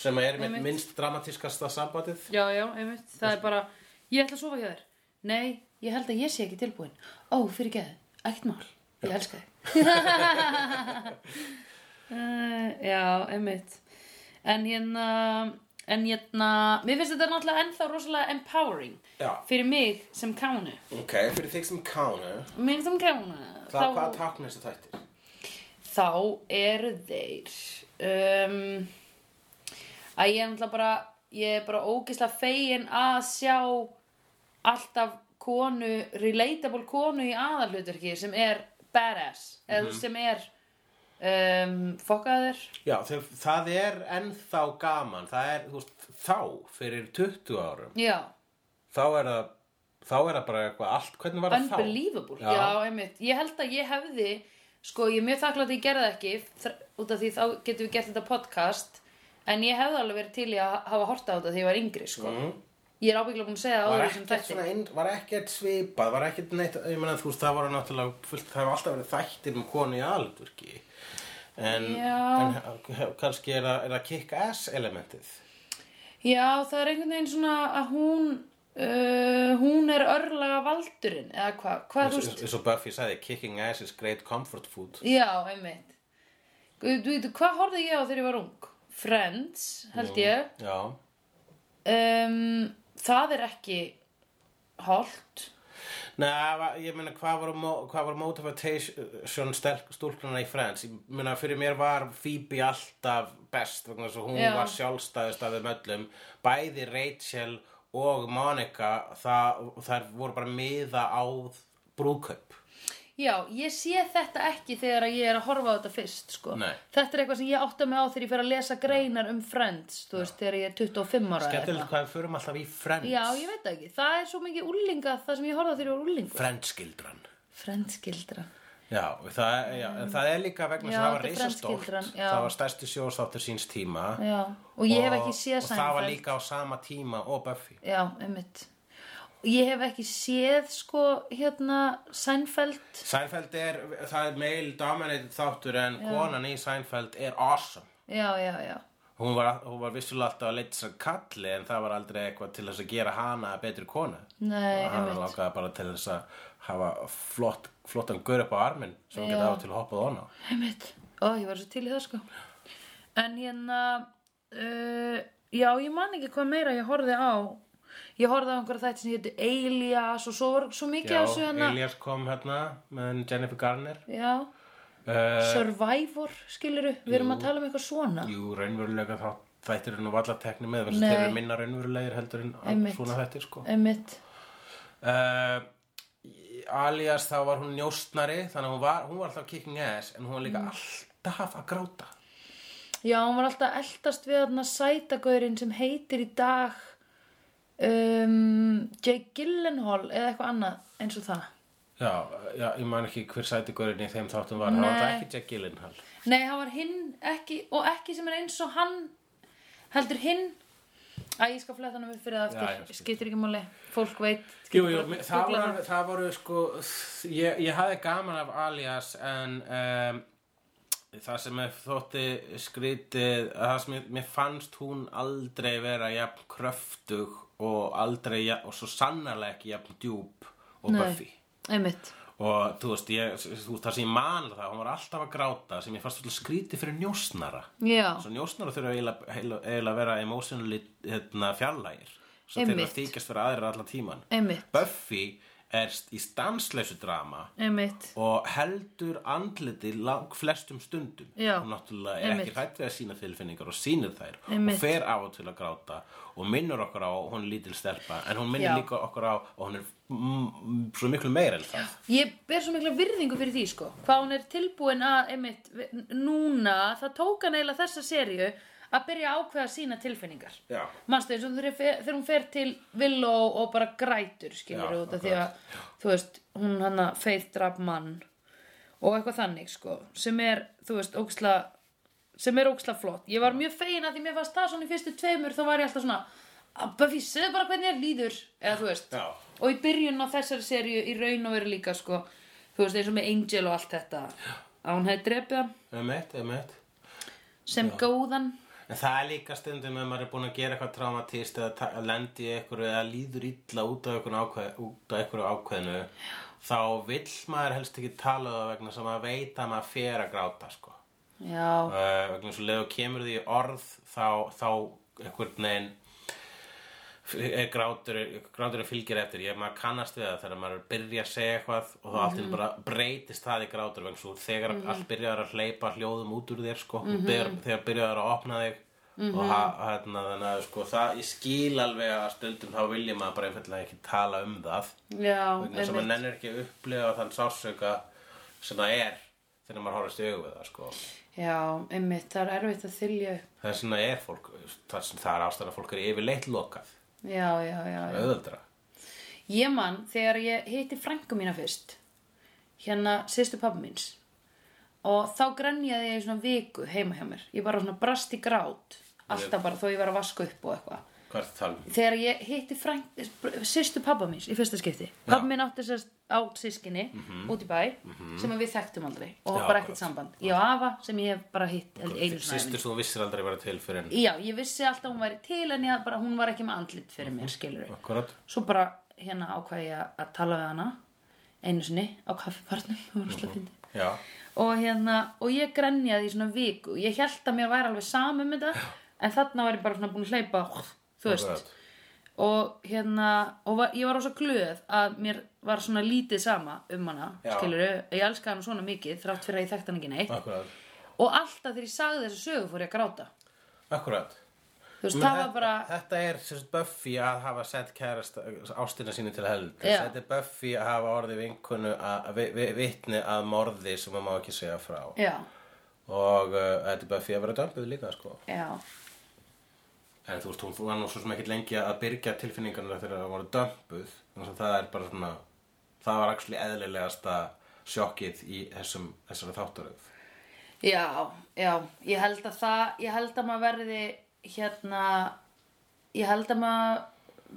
B: sem er mitt
A: Einmitt.
B: minnst dramatískasta sambandið
A: Já, já, einmitt, það er bara Ég ætla að sofa hjá þér Nei, ég held að ég sé ekki tilbúin Ó, fyrir geðu, ekkert mál, ég elska þig uh, Já, einmitt En hérna En hérna, mér finnst þetta náttúrulega ennþá rosalega empowering
B: Já.
A: Fyrir mig sem kánu
B: ok, fyrir þig sem kánu
A: Mig sem kánu
B: það Þá... hvað takna þessu þættir
A: þá eru þeir um, að ég er náttúrulega bara ég er bara ógislega fegin að sjá alltaf konu, relatable konu í aðalhlutverki sem er badass eða sem er um, fokkaður
B: já, þau, það er ennþá gaman það er, þú veist, þá fyrir 20 árum
A: já,
B: þá er það þá er það bara eitthvað allt, hvernig var það þá?
A: unbelievable
B: Já.
A: já. einmitt, ég held að ég hefði sko, ég er mjög þakklátt að ég gerði það ekki þr- út af því þá getum við gert þetta podcast en ég hefði alveg verið til í að hafa horta á þetta því ég var yngri sko. ég er ábyggla búin að segja það
B: Mhm.
A: áður
B: var
A: í þessum
B: ekkert,
A: þætti
B: svona inn, var ekkert svipað var ekkert neitt, ég meina þú veist það var náttúrulega fullt, það hefur alltaf verið þættir með konu í aðalutverki en,
A: Já.
B: en he- kannski er það, er það kick ass elementið
A: Já, það er einhvern veginn svona að hún uh, hún er örlaga valdurinn eða hvað, hvað þú
B: eins
A: veist
B: eins og Buffy sagði, kicking ass is great comfort food
A: Já, einmitt Guð, Þú veit, hvað horfði ég á þegar ég var ung? Friends,
B: Mhm.
A: held ég
B: já,
A: um, Það er ekki holt
B: neða, ég meina hvað var, mo- hvað var motivation stelk- stúlknanna í Friends ég meina fyrir mér var Phoebe alltaf best vegna þess að hún
A: Já.
B: var sjálfstæðust af þeim öllum bæði Rachel og Monica það, þær voru bara miða á brúðkaup
A: Já, ég sé þetta ekki þegar að ég er að horfa á þetta fyrst, sko.
B: Nei.
A: Þetta er eitthvað sem ég átta mig á þegar ég fer að lesa greinar um Friends, þú veist, þegar ég er 25 ára. eða
B: skemmtilegt
A: eitthvað.
B: hvað við förum alltaf í Friends
A: Já, ég veit það ekki. Það er svo mikið úlinga það sem ég horfði á þegar ég var úlingur.
B: Friends gildran
A: Friends gildra.
B: Já, það, já, en það er líka vegna
A: Mm. Já,
B: sem það var
A: þetta er
B: reisastórt
A: Friends-gildran, já.
B: það var stærsti sjóðstáttur síns tíma
A: Já, og ég hef ekki séð
B: og það var
A: Seinfeld.
B: líka á sama tíma og Buffy
A: Já, einmitt. Ég hef ekki séð, sko, hérna, Seinfeld.
B: Seinfeld er, það er male dominated þáttur en konan í Seinfeld er awesome
A: Já, já, já.
B: hún var, hún var vissulega alltaf að leita sér kalli en það var aldrei eitthvað til þess að gera hana að betri konu
A: Nei,
B: hann
A: einmitt.
B: langaði bara til þess að hafa flott, flottan gaur upp á arminn sem hún geta
A: Já.
B: á til að hoppað hona
A: Einmitt. Ó, ég var svo til í það sko. En hérna, uh, já, ég man ekki hvað meira ég horfði á. Ég horfði á einhverja þætti sem hétu Elias og svo var svo mikið
B: Já,
A: á svo hérna.
B: Elias kom hérna með Jennifer Garner
A: Já,
B: uh,
A: Survivor, skiluru, við erum að tala um eitthvað svona.
B: Jú, raunverulega þá þættir eru nú allar tekni með þess
A: Nei.
B: að þeir eru minna raunverulegir heldur en
A: Einmitt.
B: svona þættir sko
A: Einmitt.
B: uh, Eh, alias þá var hún njóstnari þannig að hún var, hún var alltaf kicking ass en hún var
A: Mm.
B: líka alltaf að gráta
A: Já, hún var alltaf eldast við þarna sætagaurinn sem heitir í dag um, Jake Gyllenhaal eða eitthvað annað eins og það.
B: já, já, ég man ekki hver sætigurinn í þeim þáttum var það var
A: Nei.
B: alltaf ekki Jack Gyllenhaal
A: Nei, hann var hinn ekki, og ekki sem er eins og hann heldur hinn Æ, ég skal fletta hann um fyrir það
B: Já, já,
A: eftir,
B: skiptir.
A: skiptir ekki máli, fólk veit
B: Jú, jú, mi- það,
A: Fuglar-
B: var, alveg- það voru sko ég, ég hafði gaman af alias en um, það sem ég þótti skrítið það sem ég, mér fannst hún aldrei vera jafn kröftug og aldrei jafn, og svo sannarlega ekki jafn djúb og
A: Nei.
B: Buffy
A: Einmitt,
B: og þú veist, ég, þú veist það sem ég man það, hún var alltaf að gráta sem ég fannst svolítið skrítið fyrir njósnara
A: já,
B: svo njósnara þurfa eiginlega eiginlega- eiginlega að vera emotionally hérna, fjarlægir svo þeir eru
A: Einmitt.
B: að þykjast fyrir aðrir allan tíman
A: einmitt,
B: Buffy er st- í stansleysu drama
A: einmitt
B: og heldur andliti lang flestum stundum
A: Já.
B: hún náttúrulega er
A: Einmitt.
B: ekki hrætt við að sína tilfinningar og sýnir þær
A: Einmitt.
B: og fer á og til að gráta og minnur okkur á að hún er lítil stelpa en hún minnur
A: Já.
B: líka okkur á og hún er mm, svo miklu meira en það
A: Ég ber svo mikla virðingu fyrir því sko hvað hún er tilbúin að, einmitt vi- núna, það tók hann eiginlega þessa seríu að byrja að ákveða sína tilfinningar
B: Já.
A: Manstu eins og þegar, þegar hún fer til Villó og bara grætur skilur
B: Já,
A: út af því að þú veist, hún hann að feith draf mann og eitthvað þannig sko sem er, þú veist, óksla sem er óksla flott. Ég var mjög fegin að því mér fannst það svona í fyrstu tveimur þá var ég alltaf svona að Buffy, segðu bara hvernig er líður eða þú veist,
B: Já.
A: og í byrjun á þessari seríu í raun og veru líka sko þú veist, eins og með Angel og allt þetta að hún hefði drepið hann
B: Emmett, emmett
A: sem góðan
B: En En það er líka stundum ef maður er búin að gera eitthvað traumatist eða ta- lendi í einhverju eða líður illa út af einhverju, ákveð, út af einhverju ákveðinu þá vill maður helst ekki tala um það vegna sem maður veit að maður fer að gráta sko.
A: Já,
B: uh, vegna svo leðu kemur því í orð þá, þá einhvern veginn er grátur, grátur fylgir eftir ég maður kannast við það þegar maður er að byrja að segja eitthvað og þá allt mm bara breytist það í grátur vegna svo þegar allt byrjaður að hleypa hljóðum út úr þér sko mm -hmm. þegar byrjaður að opna þig og ha- hérna þannig að sko það ég skil alveg að stundum þá vilja maður bara einfallega ekki tala um það
A: já,
B: vegna þess að maður nennir ekki að upplifa þann sásöka sem það er þegar maður horfist í augu við það sko
A: já, einmitt, það er erfitt að þylja upp.
B: Það er svona er fólk, það, sem- það er ástæðan að fólk er yfirleitt lokað,
A: Já, já, já, já.
B: auðvöldra.
A: Ég man þegar ég hitti frængu mína fyrst hérna sýstu pappa míns og þá grenjaði ég í svona viku heima hjá mér ég bara svona brast í grát alltaf bara þó ég var að vaska upp og eitthvað
B: Hvað er það talað um?
A: þegar ég hitti frænk, sýstu pappa míns í fyrsta skipti pappa mín átti sérst átt sískinni út í bæ sem að við þekktum aldrei og
B: Mhm. Já,
A: bara ekkert
B: akkurat.
A: samband ég og afa sem ég hef bara hitt held einu svona
B: Sýstur sem þú vissir aldrei að vera til fyrir en...
A: já, ég vissi alltaf hún væri til en ég, bara, hún var ekki með andlit fyrir mér skilur
B: Akkurat.
A: svo bara hérna ákvað ég að tala við hana einu sinni á kaffipartnum það var rosalega fyndið.
B: Já.
A: og hérna, og ég grenjaði í svona viku ég held að mér væri alveg sama um þetta en þarna var ég bara svona búin að hleypa þú veist
B: Akkurat.
A: og hérna, og var, ég var rosa glöð að mér var svona lítið sama um hana,
B: Já.
A: skilur ég elska hana svona mikið þrátt fyrir að ég þekkt hana ekki neitt
B: Akkurat.
A: og alltaf þegar ég sagði þessa sögu fór ég að gráta
B: Akkurat.
A: þú veist,
B: Men
A: það var
B: þetta-
A: bara
B: Þetta er sérst Buffy að hafa sett kærast ástina sínu til held.
A: Já.
B: Þetta er Buffy að hafa orðið vinkunu að vi, vi, vitni að morði sem maður má ekki segja frá.
A: já,
B: Og uh, þetta er Buffy að vera dömpuð líka, sko.
A: já,
B: En þú veist, hún var nú svo sem ekkert lengi að byrgja tilfinningarnar þegar það voru dömpuð þannig að það er bara svona það var actually eðlilegasta sjokkið í þessum, þessari þáttaröð
A: Já, já, ég held að það, ég held að maður verði hérna, ég held að maður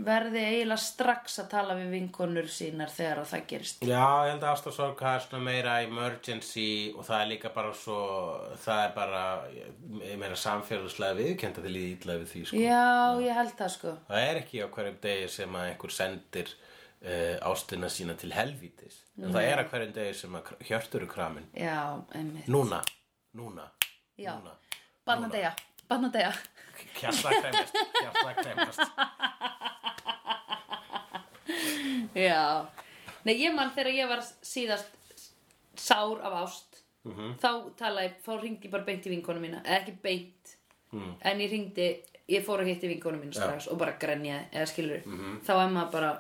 A: verði eiginlega strax að tala við vinkonur sínar þegar að það gerist.
B: Já, ég held að ástarsorg það er svona meira emergency og það er líka bara svo það er bara ég meira samfélagslega viðkend að þið líði illa við því sko.
A: Já, ég held það sko.
B: Það er ekki á hverjum degi sem að einhver sendir uh, ástina sína til helvítis en það er á hverjum degi sem að kr- hjörtur er kramin
A: Já, einmitt.
B: Núna, núna,
A: Já.
B: núna
A: Barnadega, barnadega.
B: Hjarta kremast, hjarta kremast.
A: Já. Nei, ég mann þegar ég var síðast sár af ást, þá talaði, þá ringdi ég bara beint í vinkonu mína, eða ekki beint, en ég ringdi, ég fór að hitti vinkonu mína strax og bara grenjaði, eða skilur, þá er maður bara,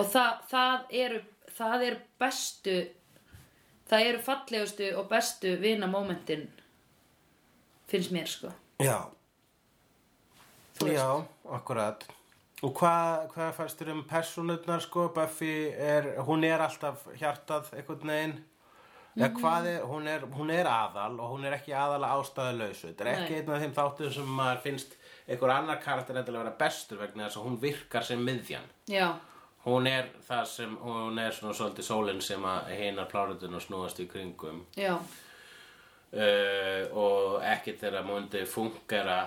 A: og það, það eru, það eru bestu, það eru fallegustu og bestu vinamómentin, finnst mér sko.
B: Já. Já, akkurat. Og hvað hva fæstur um persónurnar, sko? Buffy er, hún er alltaf hjartað einhvern veginn. Já, hvað er, hún er, hún er aðal og hún er ekki aðal að ástæðu lausu. Þetta er ekki
A: Nei.
B: einn af þeim þáttum sem maður finnst einhver annar karakter endilega að vera bestur vegna þess að hún virkar sem miðjan.
A: Já,
B: Hún er það sem, hún er svona svolítið sólinn sem að hinar plárutun og snúast í kringum.
A: já,
B: uh, og ekkert þeirra múndi fungera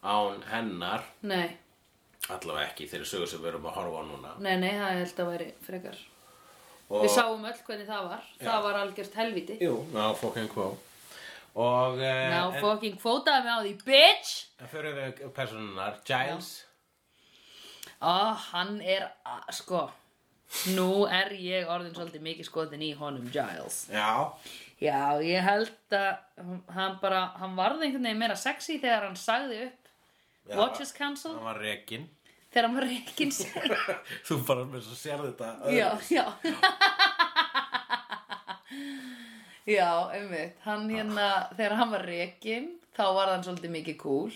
B: án hennar
A: nei,
B: allavega ekki þeirri sögur sem við erum að horfa á núna
A: nei, nei, það held að væri frekar.
B: og,
A: Við sáum öll hvernig það var. Það var algjört helviti.
B: jú, ná fucking quo og
A: Ná,
B: uh,
A: fucking kvótaði mig á því, bitch!
B: en fyrir við personunar Giles
A: Ó, hann er, a- sko, nú er ég orðin svolítið mikið skotin í honum Giles.
B: já,
A: Já, ég held að hann bara, hann varði einhvern veginn meira sexy þegar hann sagði upp
B: Já.
A: Watches Council
B: hann var rekin
A: þegar hann var reikins.
B: þú bara með svo sér þetta öðru.
A: já, já. já, einmitt,
B: Ah.
A: hann hérna, þegar hann var reikin, þá var hann svolítið mikið cool.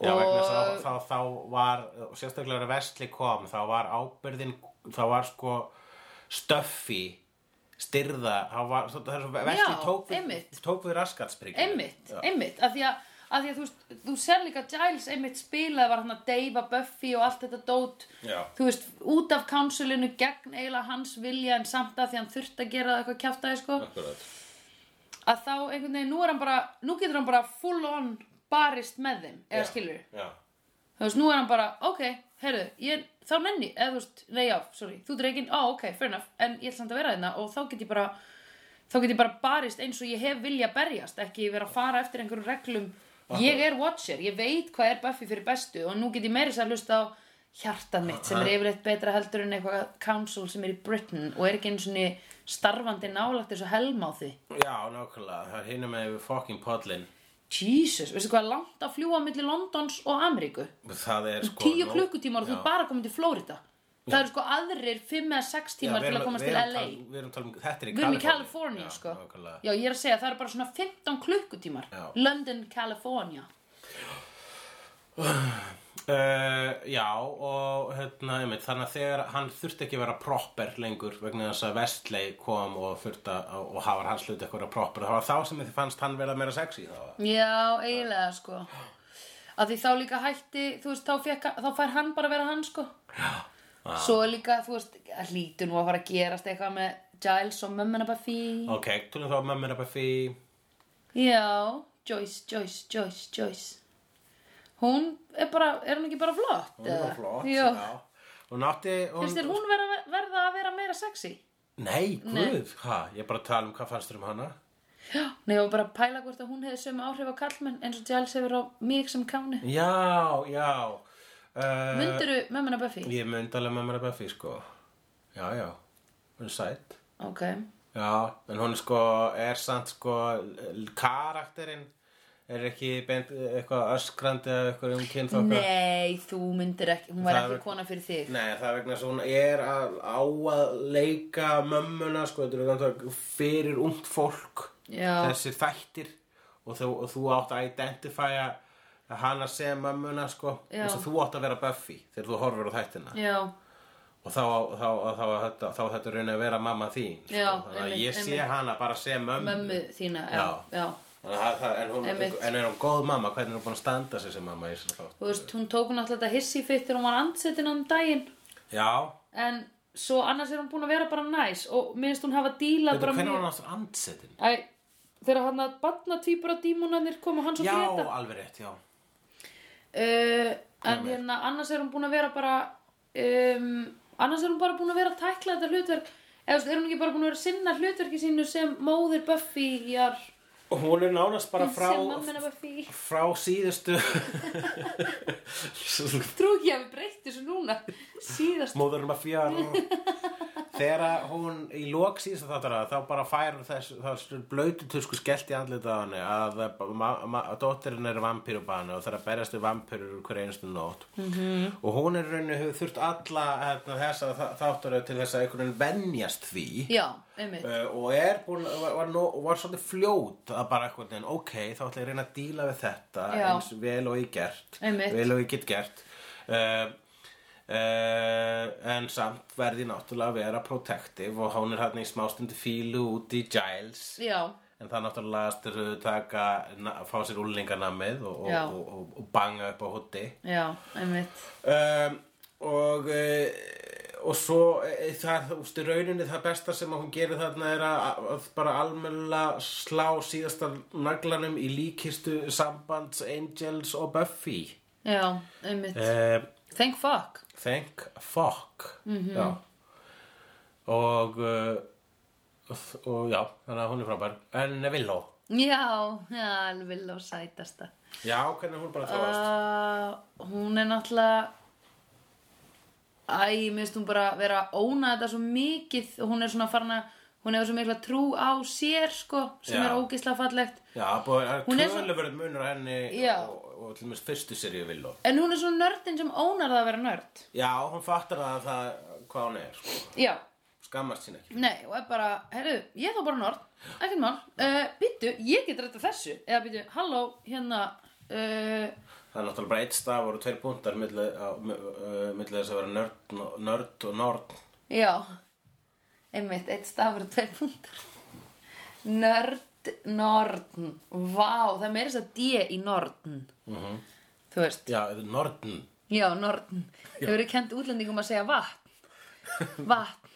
B: Já, vegna þess að
A: Og-
B: þá, þá, þá var, sérstaklega þegar Vesli kom, þá var ábyrðin, þá var sko stöffi, styrða, þá var, þá- það er svo, Vesli
A: Já,
B: tók,
A: einmitt.
B: við, tók við raskatsbrygginu.
A: einmitt, einmitt, af því að, af því að þú, veist, þú sér líka Giles einmitt spilaði var hann að deyfa Buffy og allt þetta dót
B: Já.
A: þú veist, út af counselinu gegn eiginlega hans vilja en samt að því hann þurfti að gera það eitthvað kjaftaði sko
B: Akkurat.
A: að þá einhvern veginn, nú er hann bara, nú getur hann bara full on barist með þeim eða skilur
B: Já,
A: þú veist, nú er hann bara, ok, heyrðu ég, þá nenni, eða þú veist, nei já, sorry þú dreikin, á, ok, fair enough, en ég ætla samt að vera þeirna og þá get ég bara þá get ég bara barist eins og ég hef vilja berjast ekki vera að fara eftir einhverjum reglum ég er watcher, ég veit hvað er Buffy fyrir bestu og nú get ég meiri sér að hlusta á hjartað mitt sem er yfirleitt betra heldur en eitthvað council sem er í Britain og er ekki einu svona starfandi nálægt þessu helmáði
B: já nákvæmlega, það er hinum með yfir fucking podlin
A: Jesus, veistu hvað er langt að fljúa milli Londons og Ameríku
B: Það er sko
A: tíu
B: nóg-
A: klukkutímar og þú
B: Já.
A: ert bara komin til Flórida það eru sko aðrir fimm eða sex
B: Já,
A: tímar
B: við
A: til að
B: erum-
A: komast
B: við
A: til
B: erum
A: LA
B: tal- Við erum talað um, þetta er í
A: við erum í
B: Kaliforníu.
A: California sko
B: Já, nákvæmlega.
A: já ég er að segja það eru bara svona 15 klukkutímar
B: Já.
A: London, California
B: Uh, já, og hérna, einmitt, þannig að þegar hann þurfti ekki að vera proper lengur vegna þess að Vestley kom og þurfti að, og hafa hans hluti eitthvað að vera proper það var þá sem þið fannst hann vera meira sexy þá
A: já eiginlega sko að því þá líka hætti þú veist þá, fekk, þá fær hann bara að vera hann sko já svo er líka þú veist að hlýtur nú að fara að gerast eitthvað með Giles og mömmuna Buffy
B: Ok, tölum þá um mömmur upp að fí
A: já Joyce, Joyce, Joyce, Joyce hún er bara er hún ekki bara flott
B: Hún var
A: eða?
B: flott,
A: já
B: já Hún átti hún...
A: Finnst þér hún verða, verða að vera meira sexy?
B: Nei, guð, ha, ég er bara að tala um hvað fannst þér um hana
A: Nei, ég var bara að pæla hvort að hún hefði sömu áhrif á kallmenn eins og Giles hefur á mig sem káni.
B: Já, já uh,
A: Mundirðu mömmuna Buffy?
B: Ég mynd alveg mömmur upp að fí, sko Já, já, hún er sætt
A: Ok.
B: Já, en hún er sko, er samt sko, l- karakterinn er ekki beint eitthvað öskrandi eða eitthvað um kynþokka.
A: Nei, þú myndir ekki, hún var
B: Það
A: ekki
B: er-
A: kona fyrir þig.
B: Nei, það er vegna þess að hún er að, á að leika mömmuna, sko, þetta eru náttúrulega fyrir ungt fólk,
A: Já.
B: þessir þættir og þú, og þú átt að identifæja hana sem mömmuna, sko,
A: Já.
B: eins og þú átt að vera Buffy þegar þú horfir á þættina.
A: Já,
B: Og þá, þá, þá, þá, þá, þá þetta raunin að vera mamma þín, sko,
A: Já,
B: þannig að
A: einmitt,
B: ég sé
A: einmitt.
B: hana bara sem mömmu.
A: mömmu þína, já,
B: Já.
A: já.
B: Þannig að það- En, hún,
A: Einmitt.
B: en er hún góð mamma? Hvernig er hún búin að standa sig sem mamma í þessum þátt?
A: Þú veist, hún tók náttúrulega þetta hissi fyrir þegar hún var andsetin um daginn,
B: Já,
A: en svo annars er hún búin að vera bara næs og minnst hún hafa dílað
B: veitum
A: bara
B: hvernig var hann aftur andsetin?
A: Æ, þegar hann að batna tvíbura dímunanir komu hans og
B: Já,
A: Greta.
B: alveg rétt,
A: uh,
B: já
A: en
B: Einmitt.
A: hérna annars er hún búin að vera bara um, annars er hún bara búin að vera að tækla þetta hlutverk eða þú veist, er hún ekki bara búin að vera að sinna hlutverki sínu sem móðir Buffy jar,
B: Og hún er nánast bara frá
A: sem mammina Buffy
B: frá síðustu
A: trú ekki að við breytti þessu núna síðast
B: móðurum að fjár þegar að hún í lok síðustu þáttara þá bara fær þess, þess blöytu tusku skellt í andlita á henni að, að, að dóttirinn er vampýrubana og það er að berjast við vampýrur hver einstu nótt -hmm. og hún er í rauninni hefur þurft alla hérna, þessa þáttara til þess að einhvern veginn venjast því
A: já, einmitt
B: Uh, og er búin, var, var, nú- var svolítið fljót að bara eitthvað, en ok, þá ætla ég að reyna að díla við þetta
A: Já.
B: eins vel og ég gert
A: Einmitt.
B: vel og ég get gert uh, uh, en samt verði náttúrulega að vera protective og hún er hann í smástundu fílu út í Giles
A: já,
B: en það náttúrulega styrðu taka na, fá sér úlinganamið og,
A: Já.
B: og, og, og banga upp á hútti
A: já, einmitt
B: um, og uh, og svo eh, það, úst, rauninni það besta sem að hún gerir þarna er að, að bara almennilega slá síðasta naglanum í líkistu sambands Angels og Buffy
A: já, einmitt
B: um,
A: thank fuck
B: Thank fuck
A: Mhm.
B: Já og uh, og- og já, þannig að hún er frábær en Nevilló
A: já, já, alveg og sætasta
B: Já, hvernig hún bara þróast
A: Uh, hún er náttúrulega Æ, mér finnst hún bara vera að óna þetta svo mikið og hún er svona farin að hún hefur svo mikla trú á sér sko sem
B: Já.
A: er ógislega fallegt
B: Já, búið að
A: Hún er svo-
B: klöðlega munur á henni
A: Já.
B: og, og til mér fyrstu serið Villó
A: en hún er svona nördin sem ónar það að vera nörd
B: Já, hún fattar að það hvað hún er, sko.
A: Já,
B: Skammast sín ekki.
A: nei, og er bara herru, ég er þá bara nörd, ekkert mál uh, býttu, ég get þetta þessu eða býttu, halló, hérna uh,
B: Það er náttúrulega bara eitt stafur og tveir púntar milli, á- mi- uh, milli þess að vera nörd, nörd og nörd.
A: já einmitt, eitt stafur og tveir punktar nörd, nordn vá, það er meira þess að D í nordn
B: Mhm.
A: þú veist
B: Já, nördn.
A: Já, nortn. Þau eru kent útlendingum að segja vatn. Vatn.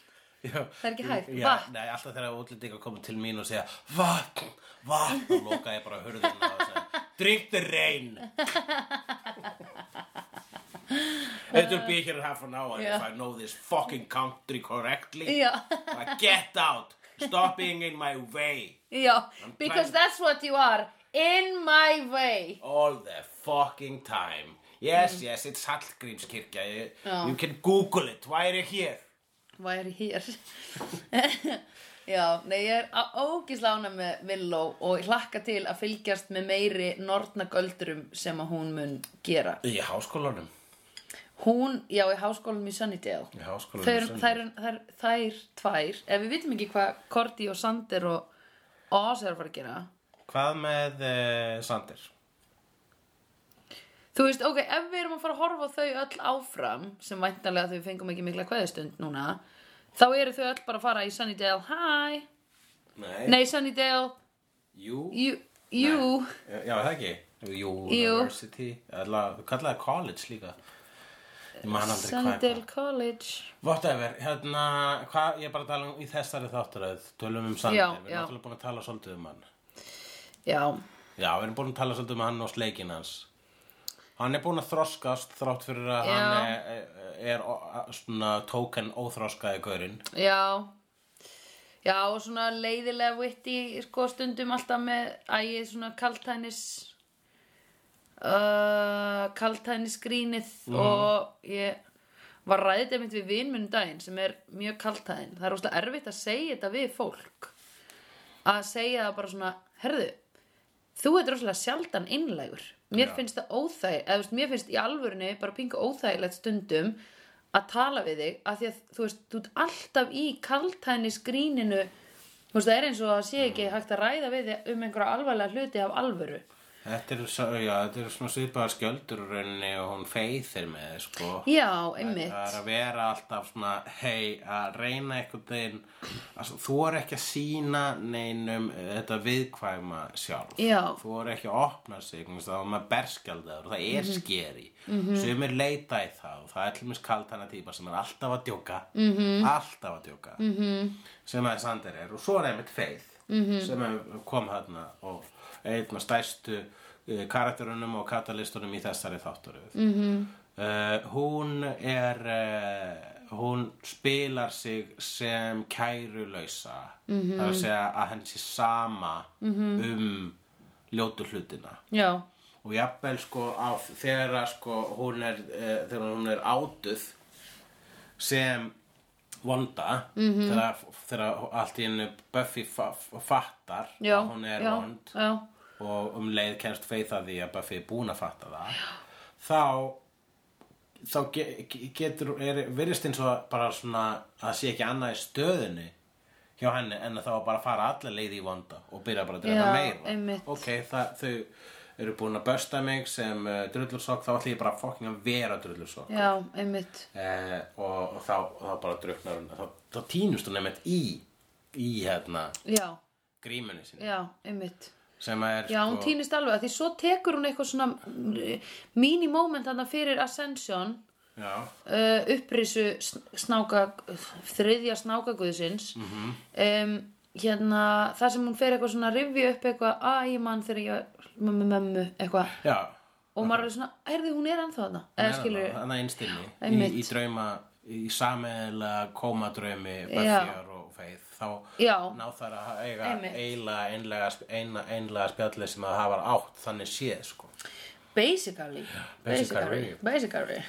B: Já,
A: Það er ekki hægt.
B: já,
A: Vatn.
B: Nei, alltaf þegar útlendingar koma til mín og segja vatn, vatn og loka ég bara hurðina og segja Drink the rain It will be here in half an hour
A: Yeah.
B: If I know this fucking country correctly
A: Yeah.
B: Like, Get out Stop being in my way
A: Yeah, because
B: trying-
A: that's what you are. In my way.
B: All the fucking time Yes, yes, it's Hallgrímskirkja you,
A: Mm. Já.
B: you can google it, why are you here?
A: Væri hér. Já, nei, ég er á- ógeðslega ánægð með Villó og ég hlakka til að fylgjast með meiri nornagöldurum sem að hún mun gera.
B: Í háskólanum
A: Hún, já, í háskólanum í Sunnydale.
B: Í háskólanum í
A: þær,
B: Sunnydale.
A: þær, þær, þær tvær, ef við vitum ekki hvað Korti og Sander og Oz er að fara að gera.
B: Hvað með uh, Sander?
A: Þú veist, ok, ef við erum að fara að horfa á þau öll áfram, sem væntanlega þau við fengum ekki mikla kveðustund núna, þá eru þau öll bara að fara í Sunnydale, hi, nei Sunnydale,
B: Jú,
A: you, you,
B: Já, já, það ekki. Jú,
A: Jú.
B: university. Alla, þú kallaði college líka. Ég man aldrei hvað.
A: Sunnydale College,
B: Whatever, hérna, hvað, ég er bara að tala um í þessari þáttaröð, tölum um Sander,
A: Já,
B: við
A: já.
B: erum náttúrulega búin að tala svolítið um hann.
A: já,
B: Já, við erum búin að tala svolítið um hann og sleikin hans. Hann er búin að þroskast þrátt fyrir að
A: Já.
B: hann er, er, er svona token óþroskaði gaurinn.
A: já, já, og svona leiðilega vitti, sko, stundum alltaf með, æ, ég svona kaltænis, uh, kaltænis grínið
B: Mhm.
A: og ég var ræðið einmitt við vinmunum daginn sem er mjög kaltæðin. Það er óslega erfitt að segja þetta við fólk. Að segja það bara svona, herðu, þú ert rosalega sjaldan einlægur. Mér finnst það óþæg, eða þú veist, mér finnst í alvörinu bara pinga óþægilegt stundum að tala við þig að því að þú veist, þú ert alltaf í kaltæðnis gríninu Þú veist, það er eins og að sé
B: Mm.
A: ekki hægt að ræða við þig um einhverja alvarlega hluti af alvöru.
B: Þetta er, já, þetta er svona svipaðar skjöldur úr rauninni og hún feithir með, sko.
A: Já, einmitt.
B: Það er að vera alltaf svona, hei, að reyna einhvern veginn, að þú er ekki að sína neinum eh, þetta viðkvæma sjálf.
A: Já.
B: Þú er ekki að opna sig, þú veist, þá er maður berskjaldar og það er skeri. Sumir leita í það og það er til mér kalt hana típa sem er alltaf að djóka, -hmm. alltaf að djóka, -hmm. sem að Sander er og svo er einmitt feið -hmm. sem er- kom þarna og er einn af stærstu eh, karakterunum og katalistunum í þessari þátturöð. Mm Uh, hún er uh, hún spilar sig sem kærulausa mm -hmm. það er að segja að henni sé sama um ljótu hlutina
A: Já,
B: og jafnvel sko á, þegar að, sko, hún er uh, þegar hún er átuð sem vonda mm
A: Mhm.
B: -hmm. þegar, þegar allt í hennu Buffy fa fattar
A: já,
B: að hún er
A: já,
B: vond
A: já,
B: og um leið kennst feiða því að Buffy er búin að fatta það þá þá ge ge- getur er, virðist eins og bara svona að það sé ekki annað í stöðunni hjá henni en að þá bara fara alla leið í vonda og byrja bara að drepa
A: Já,
B: meira
A: einmitt.
B: ok, það, þau eru búin að bösta mig sem uh, drullursokk þá ætlum ég bara fokking að vera drullursokk
A: já, einmitt.
B: eh, og, og þá, þá bara druknar hún þá, þá týnust hún nefnt í í hérna
A: Já,
B: grímunni sinni
A: já, einmitt.
B: sem að er sko-
A: Já, hún týnist alveg að því svo tekur hún eitthvað svona eh, mini-moment hann fyrir Ascension
B: já,
A: uh, upprisu snáka, þriðja snákaguðsins um, hérna þar sem hún fer eitthvað svona að rifja upp eitthvað að ég mann þegar ég mömmu mömmu eitthvað
B: já
A: og maður er svona, heyrðu hún er ennþá þarna eða skilur
B: Þannig að einstinni í,
A: Einmitt.
B: í drauma, í sameðlega kómadraumi
A: Já.
B: Buffyar og Faith þá
A: Já.
B: ná þær að eiga
A: Einmitt.
B: eiginlega einlega, einlega, einlega spjallið sem það hafa átt þannig séð sko.
A: Basically
B: basically.
A: Basically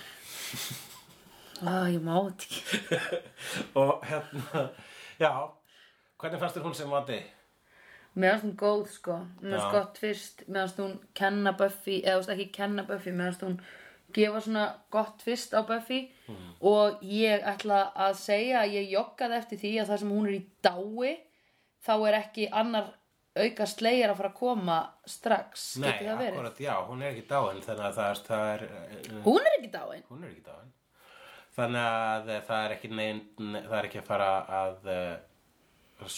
A: Á, ég má þetta ekki
B: og hérna, já hvernig fannst þér hún sem vandi?
A: Mér fannst hún góð sko Mér fannst
B: Já.
A: gott fyrst Mér fannst hún kenna Buffy Eða þú veist ekki kenna Buffy Mér fannst hún gefa svona gott fyrst á Buffy
B: Mm.
A: Og ég ætla að segja að Ég joggaði eftir því að það sem hún er í dái Þá er ekki annar auka sleigjar að fara að koma strax Geti það verið?
B: akkurat, já, hún er ekki dáin þannig að það, það er eh,
A: Hún er ekki dáin
B: hún er ekki dáin þannig að eh, það er ekki neinn það er ekki að fara að uh,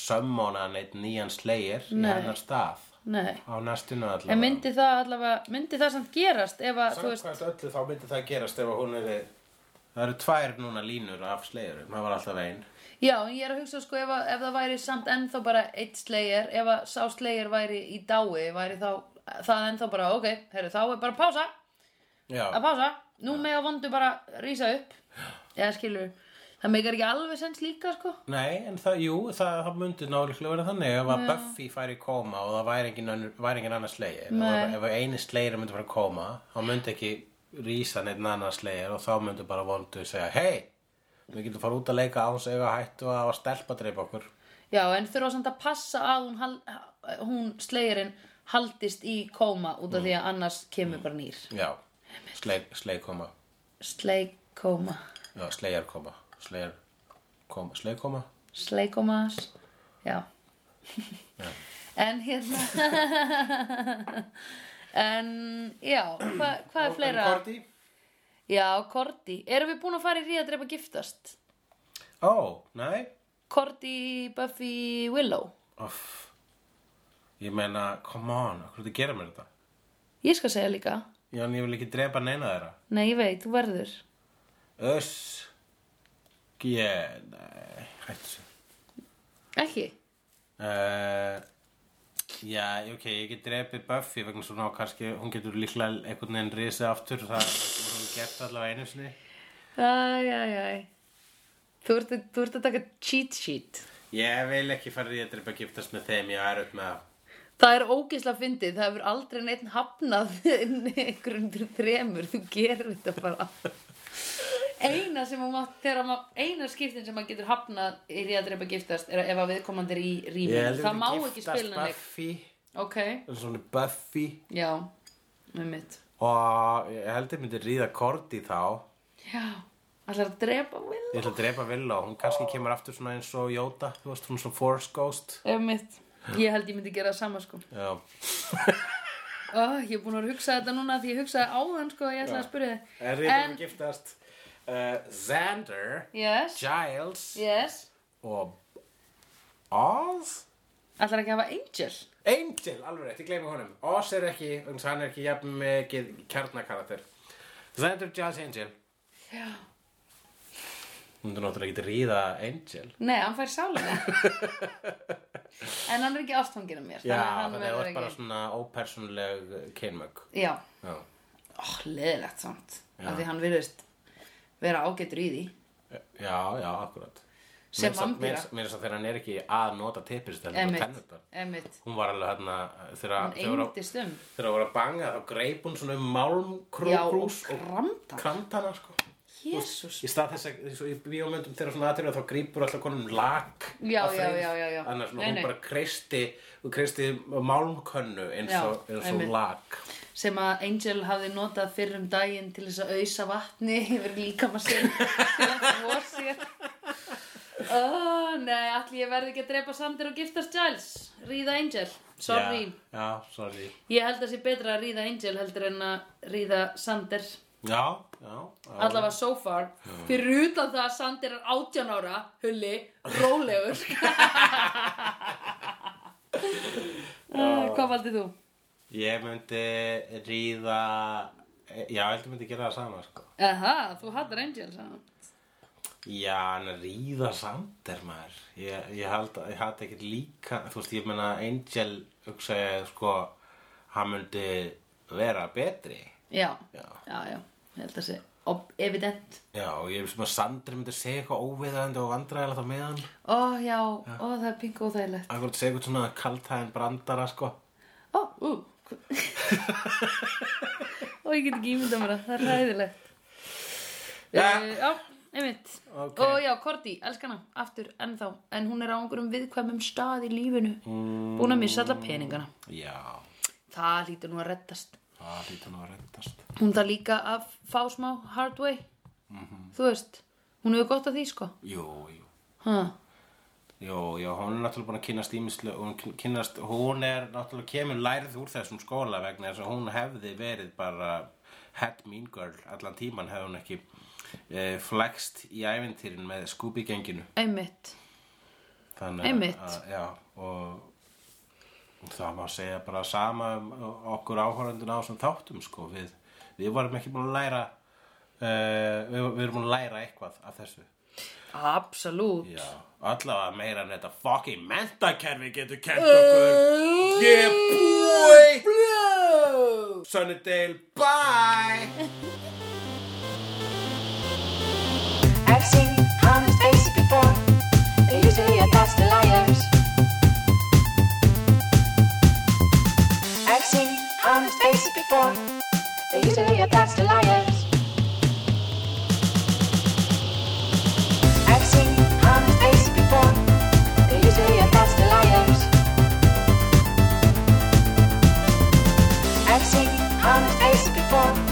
B: sömmóna neitt nýjan slegir í
A: Nei.
B: hennar stað
A: Nei
B: á næstinu allavega
A: En myndi það allavega, myndi það samt gerast ef að, þú veist,
B: samkvæmt öllu þá myndi það gerast ef að hún er það eru tvær núna línur af slegurum það var alltaf ein
A: já, en ég er að hugsa sko ef, að, ef það væri samt ennþá bara eitt slegir, ef að sá slegir væri í dái, væri þá það ennþá bara, ok, heyrðu, þá er bara pása, að
B: já,
A: pása, nú mega vondu bara rísa upp, eða skilur, það meikar ekki alveg sens líka, sko.
B: nei, en það, jú, það, það myndi nálega vera þannig ef að Buffy færi í koma og það væri engin, önnur- væri engin annars slegir
A: Nei.
B: ef eini slegir myndi fara að koma þá myndi ekki rísa neitt annars slegir og þá myndi bara vondu segja hei, við getum fara út að leika án segja að hættu að hafa stelpa að dreipa okkur
A: Já, en þurfa samt að passa að hún, hal- hún slegirinn haldist í koma út af því að annars kemur bara nýr.
B: já, sleg, sleg koma
A: Sleik koma,
B: já, slegjar koma slegjar koma, sleg koma
A: sleik koma, já. en hérna, en já, hva, hvað er fleira?
B: Korti?
A: Já, Korti. Erum við búin að fara í ríðadreipa giftast?
B: Ó, Oh, nei
A: Korti, Buffy, Willow.
B: Uff. Ég meina, come on, hvað er þetta að gera mér þetta?
A: Ég skal segja líka.
B: Já, en ég vil ekki drepa neina þeirra.
A: Nei, ég veit, þú verður.
B: Öss. Ég, nei, hættu þessu.
A: Ekki?
B: Uh, já, ok, ég get drepið Buffy vegna svona og kannski hún getur líklega einhvern veginn risið aftur. Það er það sem hún gert allavega einu sinni.
A: Æ, æ, æ. Þú ert, að- þú ert að taka cheat sheet.
B: Ég vil ekki fara í að drepa giftast með þeim, ég er upp með það.
A: Það er ógeðslega fyndið, það hefur aldrei neitt hafnað einhverjum til þremur, þú gerir þetta bara. Eina sem hún mátt, þegar maður, eina skiptin sem maður getur hafnað í að drepa giftast er að ef að viðkomandi er í
B: Ég
A: rýmum,
B: held
A: það
B: að
A: má
B: þetta
A: ekki spila
B: giftast
A: neitt.
B: Buffy,
A: Ok,
B: svona Buffy
A: já, með mitt.
B: og ég held að myndi ríða Korti þá.
A: Já, allar að drepa Will,
B: Ég ætla að drepa Villa og hún kannski kemur aftur svona eins og Jóta, þú veist, hún svona Force Ghost.
A: með mitt. Ég held ég myndi gera það sama sko.
B: Já,
A: Oh, ég er búin að hugsa þetta núna því ég hugsaði áðan sko, ég ætlaði að spyrja
B: er
A: þið.
B: þetta en... giftast uh, Xander,
A: yes,
B: Giles
A: yes,
B: og Oz?
A: allar ekki að hafa Angel.
B: Angel, alveg rétt, ég gleymi honum. Oz er ekki, um þess að hann er ekki jafn mikið kjarnakarakter. Xander, Giles, Angel. Já. Hún er náttúrulega ekki að ríða Angel.
A: Nei, hann fær sálinni En hann er ekki ástfangin af mér
B: Já,
A: þannig að hann
B: þannig að það
A: verður
B: er bara
A: ekki...
B: svona ópersónuleg kynmögg.
A: Já,
B: Já.
A: ó, leðilegt samt Af því hann virðist vera ágætur í því
B: Já, já, akkurat
A: Sem
B: Meira samt-
A: vampíra.
B: meira- Meira þess að þegar hann er ekki að nota tippist Þegar hann
A: Emmitt,
B: tennurnar
A: emmitt
B: Hún var alveg hérna Þegar
A: Hann
B: þegar hún
A: engdist um
B: þegar hún var að banga þá greip hún svona um
A: Já, og
B: málmkrús og
A: kramta
B: krantana sko
A: Jésús
B: Í stað þess að eins og í bíómyndum þegar svona aðtölu þá grípur alltaf konum lak
A: Já,
B: að
A: já,
B: þreif.
A: já, já, já.
B: Annars svona
A: Nei, nei.
B: hún bara kreisti Hún kreisti málmkönnu eins
A: Já,
B: og, eins og
A: einmitt.
B: lak
A: Sem að Angel hafði notað fyrr um daginn til þess að ausa vatni yfir líkama sér til að þvó sér Ó, nei, allir ég verði ekki að drepa Sander og giftast Giles Ríða Angel, sorry
B: Já, já sorry
A: Ég held að sé betra að ríða Angel heldur en að ríða Sander
B: Já, já, já.
A: allavega so far fyrir utan það að Sander er 18 ára hulli, rólegur uh, Hvað valdi þú?
B: Ég myndi ríða Já, ég held ég myndi gera það sama sko
A: Aha, þú hattar Angel saman
B: Já, en að ríða samt er maður. Ég, ég held að ég hatt ekkert líka, þú veist, ég meina Angel, hugsa ég, sko, hann myndi vera betri.
A: Já,
B: Já.
A: já, já, ég held að sé ob- evident
B: Já, og ég veist maður Sandri myndi segja eitthvað óviðandi og vandræðilegt á meðan.
A: Ó, já, ó, það er pingu óþægilegt
B: Akkur segja eitthvað svona kaltæðin brandara, sko.
A: Ó, ú Ó, ég get ekki ímynda mér það, það er ræðilegt
B: Ja.
A: Eh, Já, einmitt
B: Ok.
A: Og já, Korti, elskana, aftur ennþá En hún er á einhverjum viðkvæmum stað í lífinu mm. Búin að missa alla peningana
B: Já,
A: Það lítur nú að reddast
B: það hlýtur nú að reyndast.
A: Hún það líka að fá smá hard way Þú veist, hún hefur gott að því sko
B: Jú, jú.
A: ha.
B: Jú, jú, hún er náttúrulega búin að kynast ímislu, hún, kyn- kynast, hún er náttúrulega kemur lærið úr þessum skóla vegna þess að hún hefði verið bara head mean girl allan tíman hefði hún ekki e, flext í ævintýrin með Scooby-genginu.
A: Einmitt
B: Þannig að-
A: Einmitt.
B: að- Já, og það má segja bara sama um okkur áhorendun á þessum þáttum, sko, við, við varum ekki búin að læra, e, við, við erum búin að læra eitthvað af þessu.
A: Absolút
B: Já, allavega meira en þetta fucking mentakerfi getur kent okkur Yeah, boy Sunnydale, bye!
C: I've seen honest faces before. They're usually a pass to liars. I've seen honest faces before. They're usually a pass to liars. I've seen honest faces before. They're usually a pass to liars. I've seen honest faces before.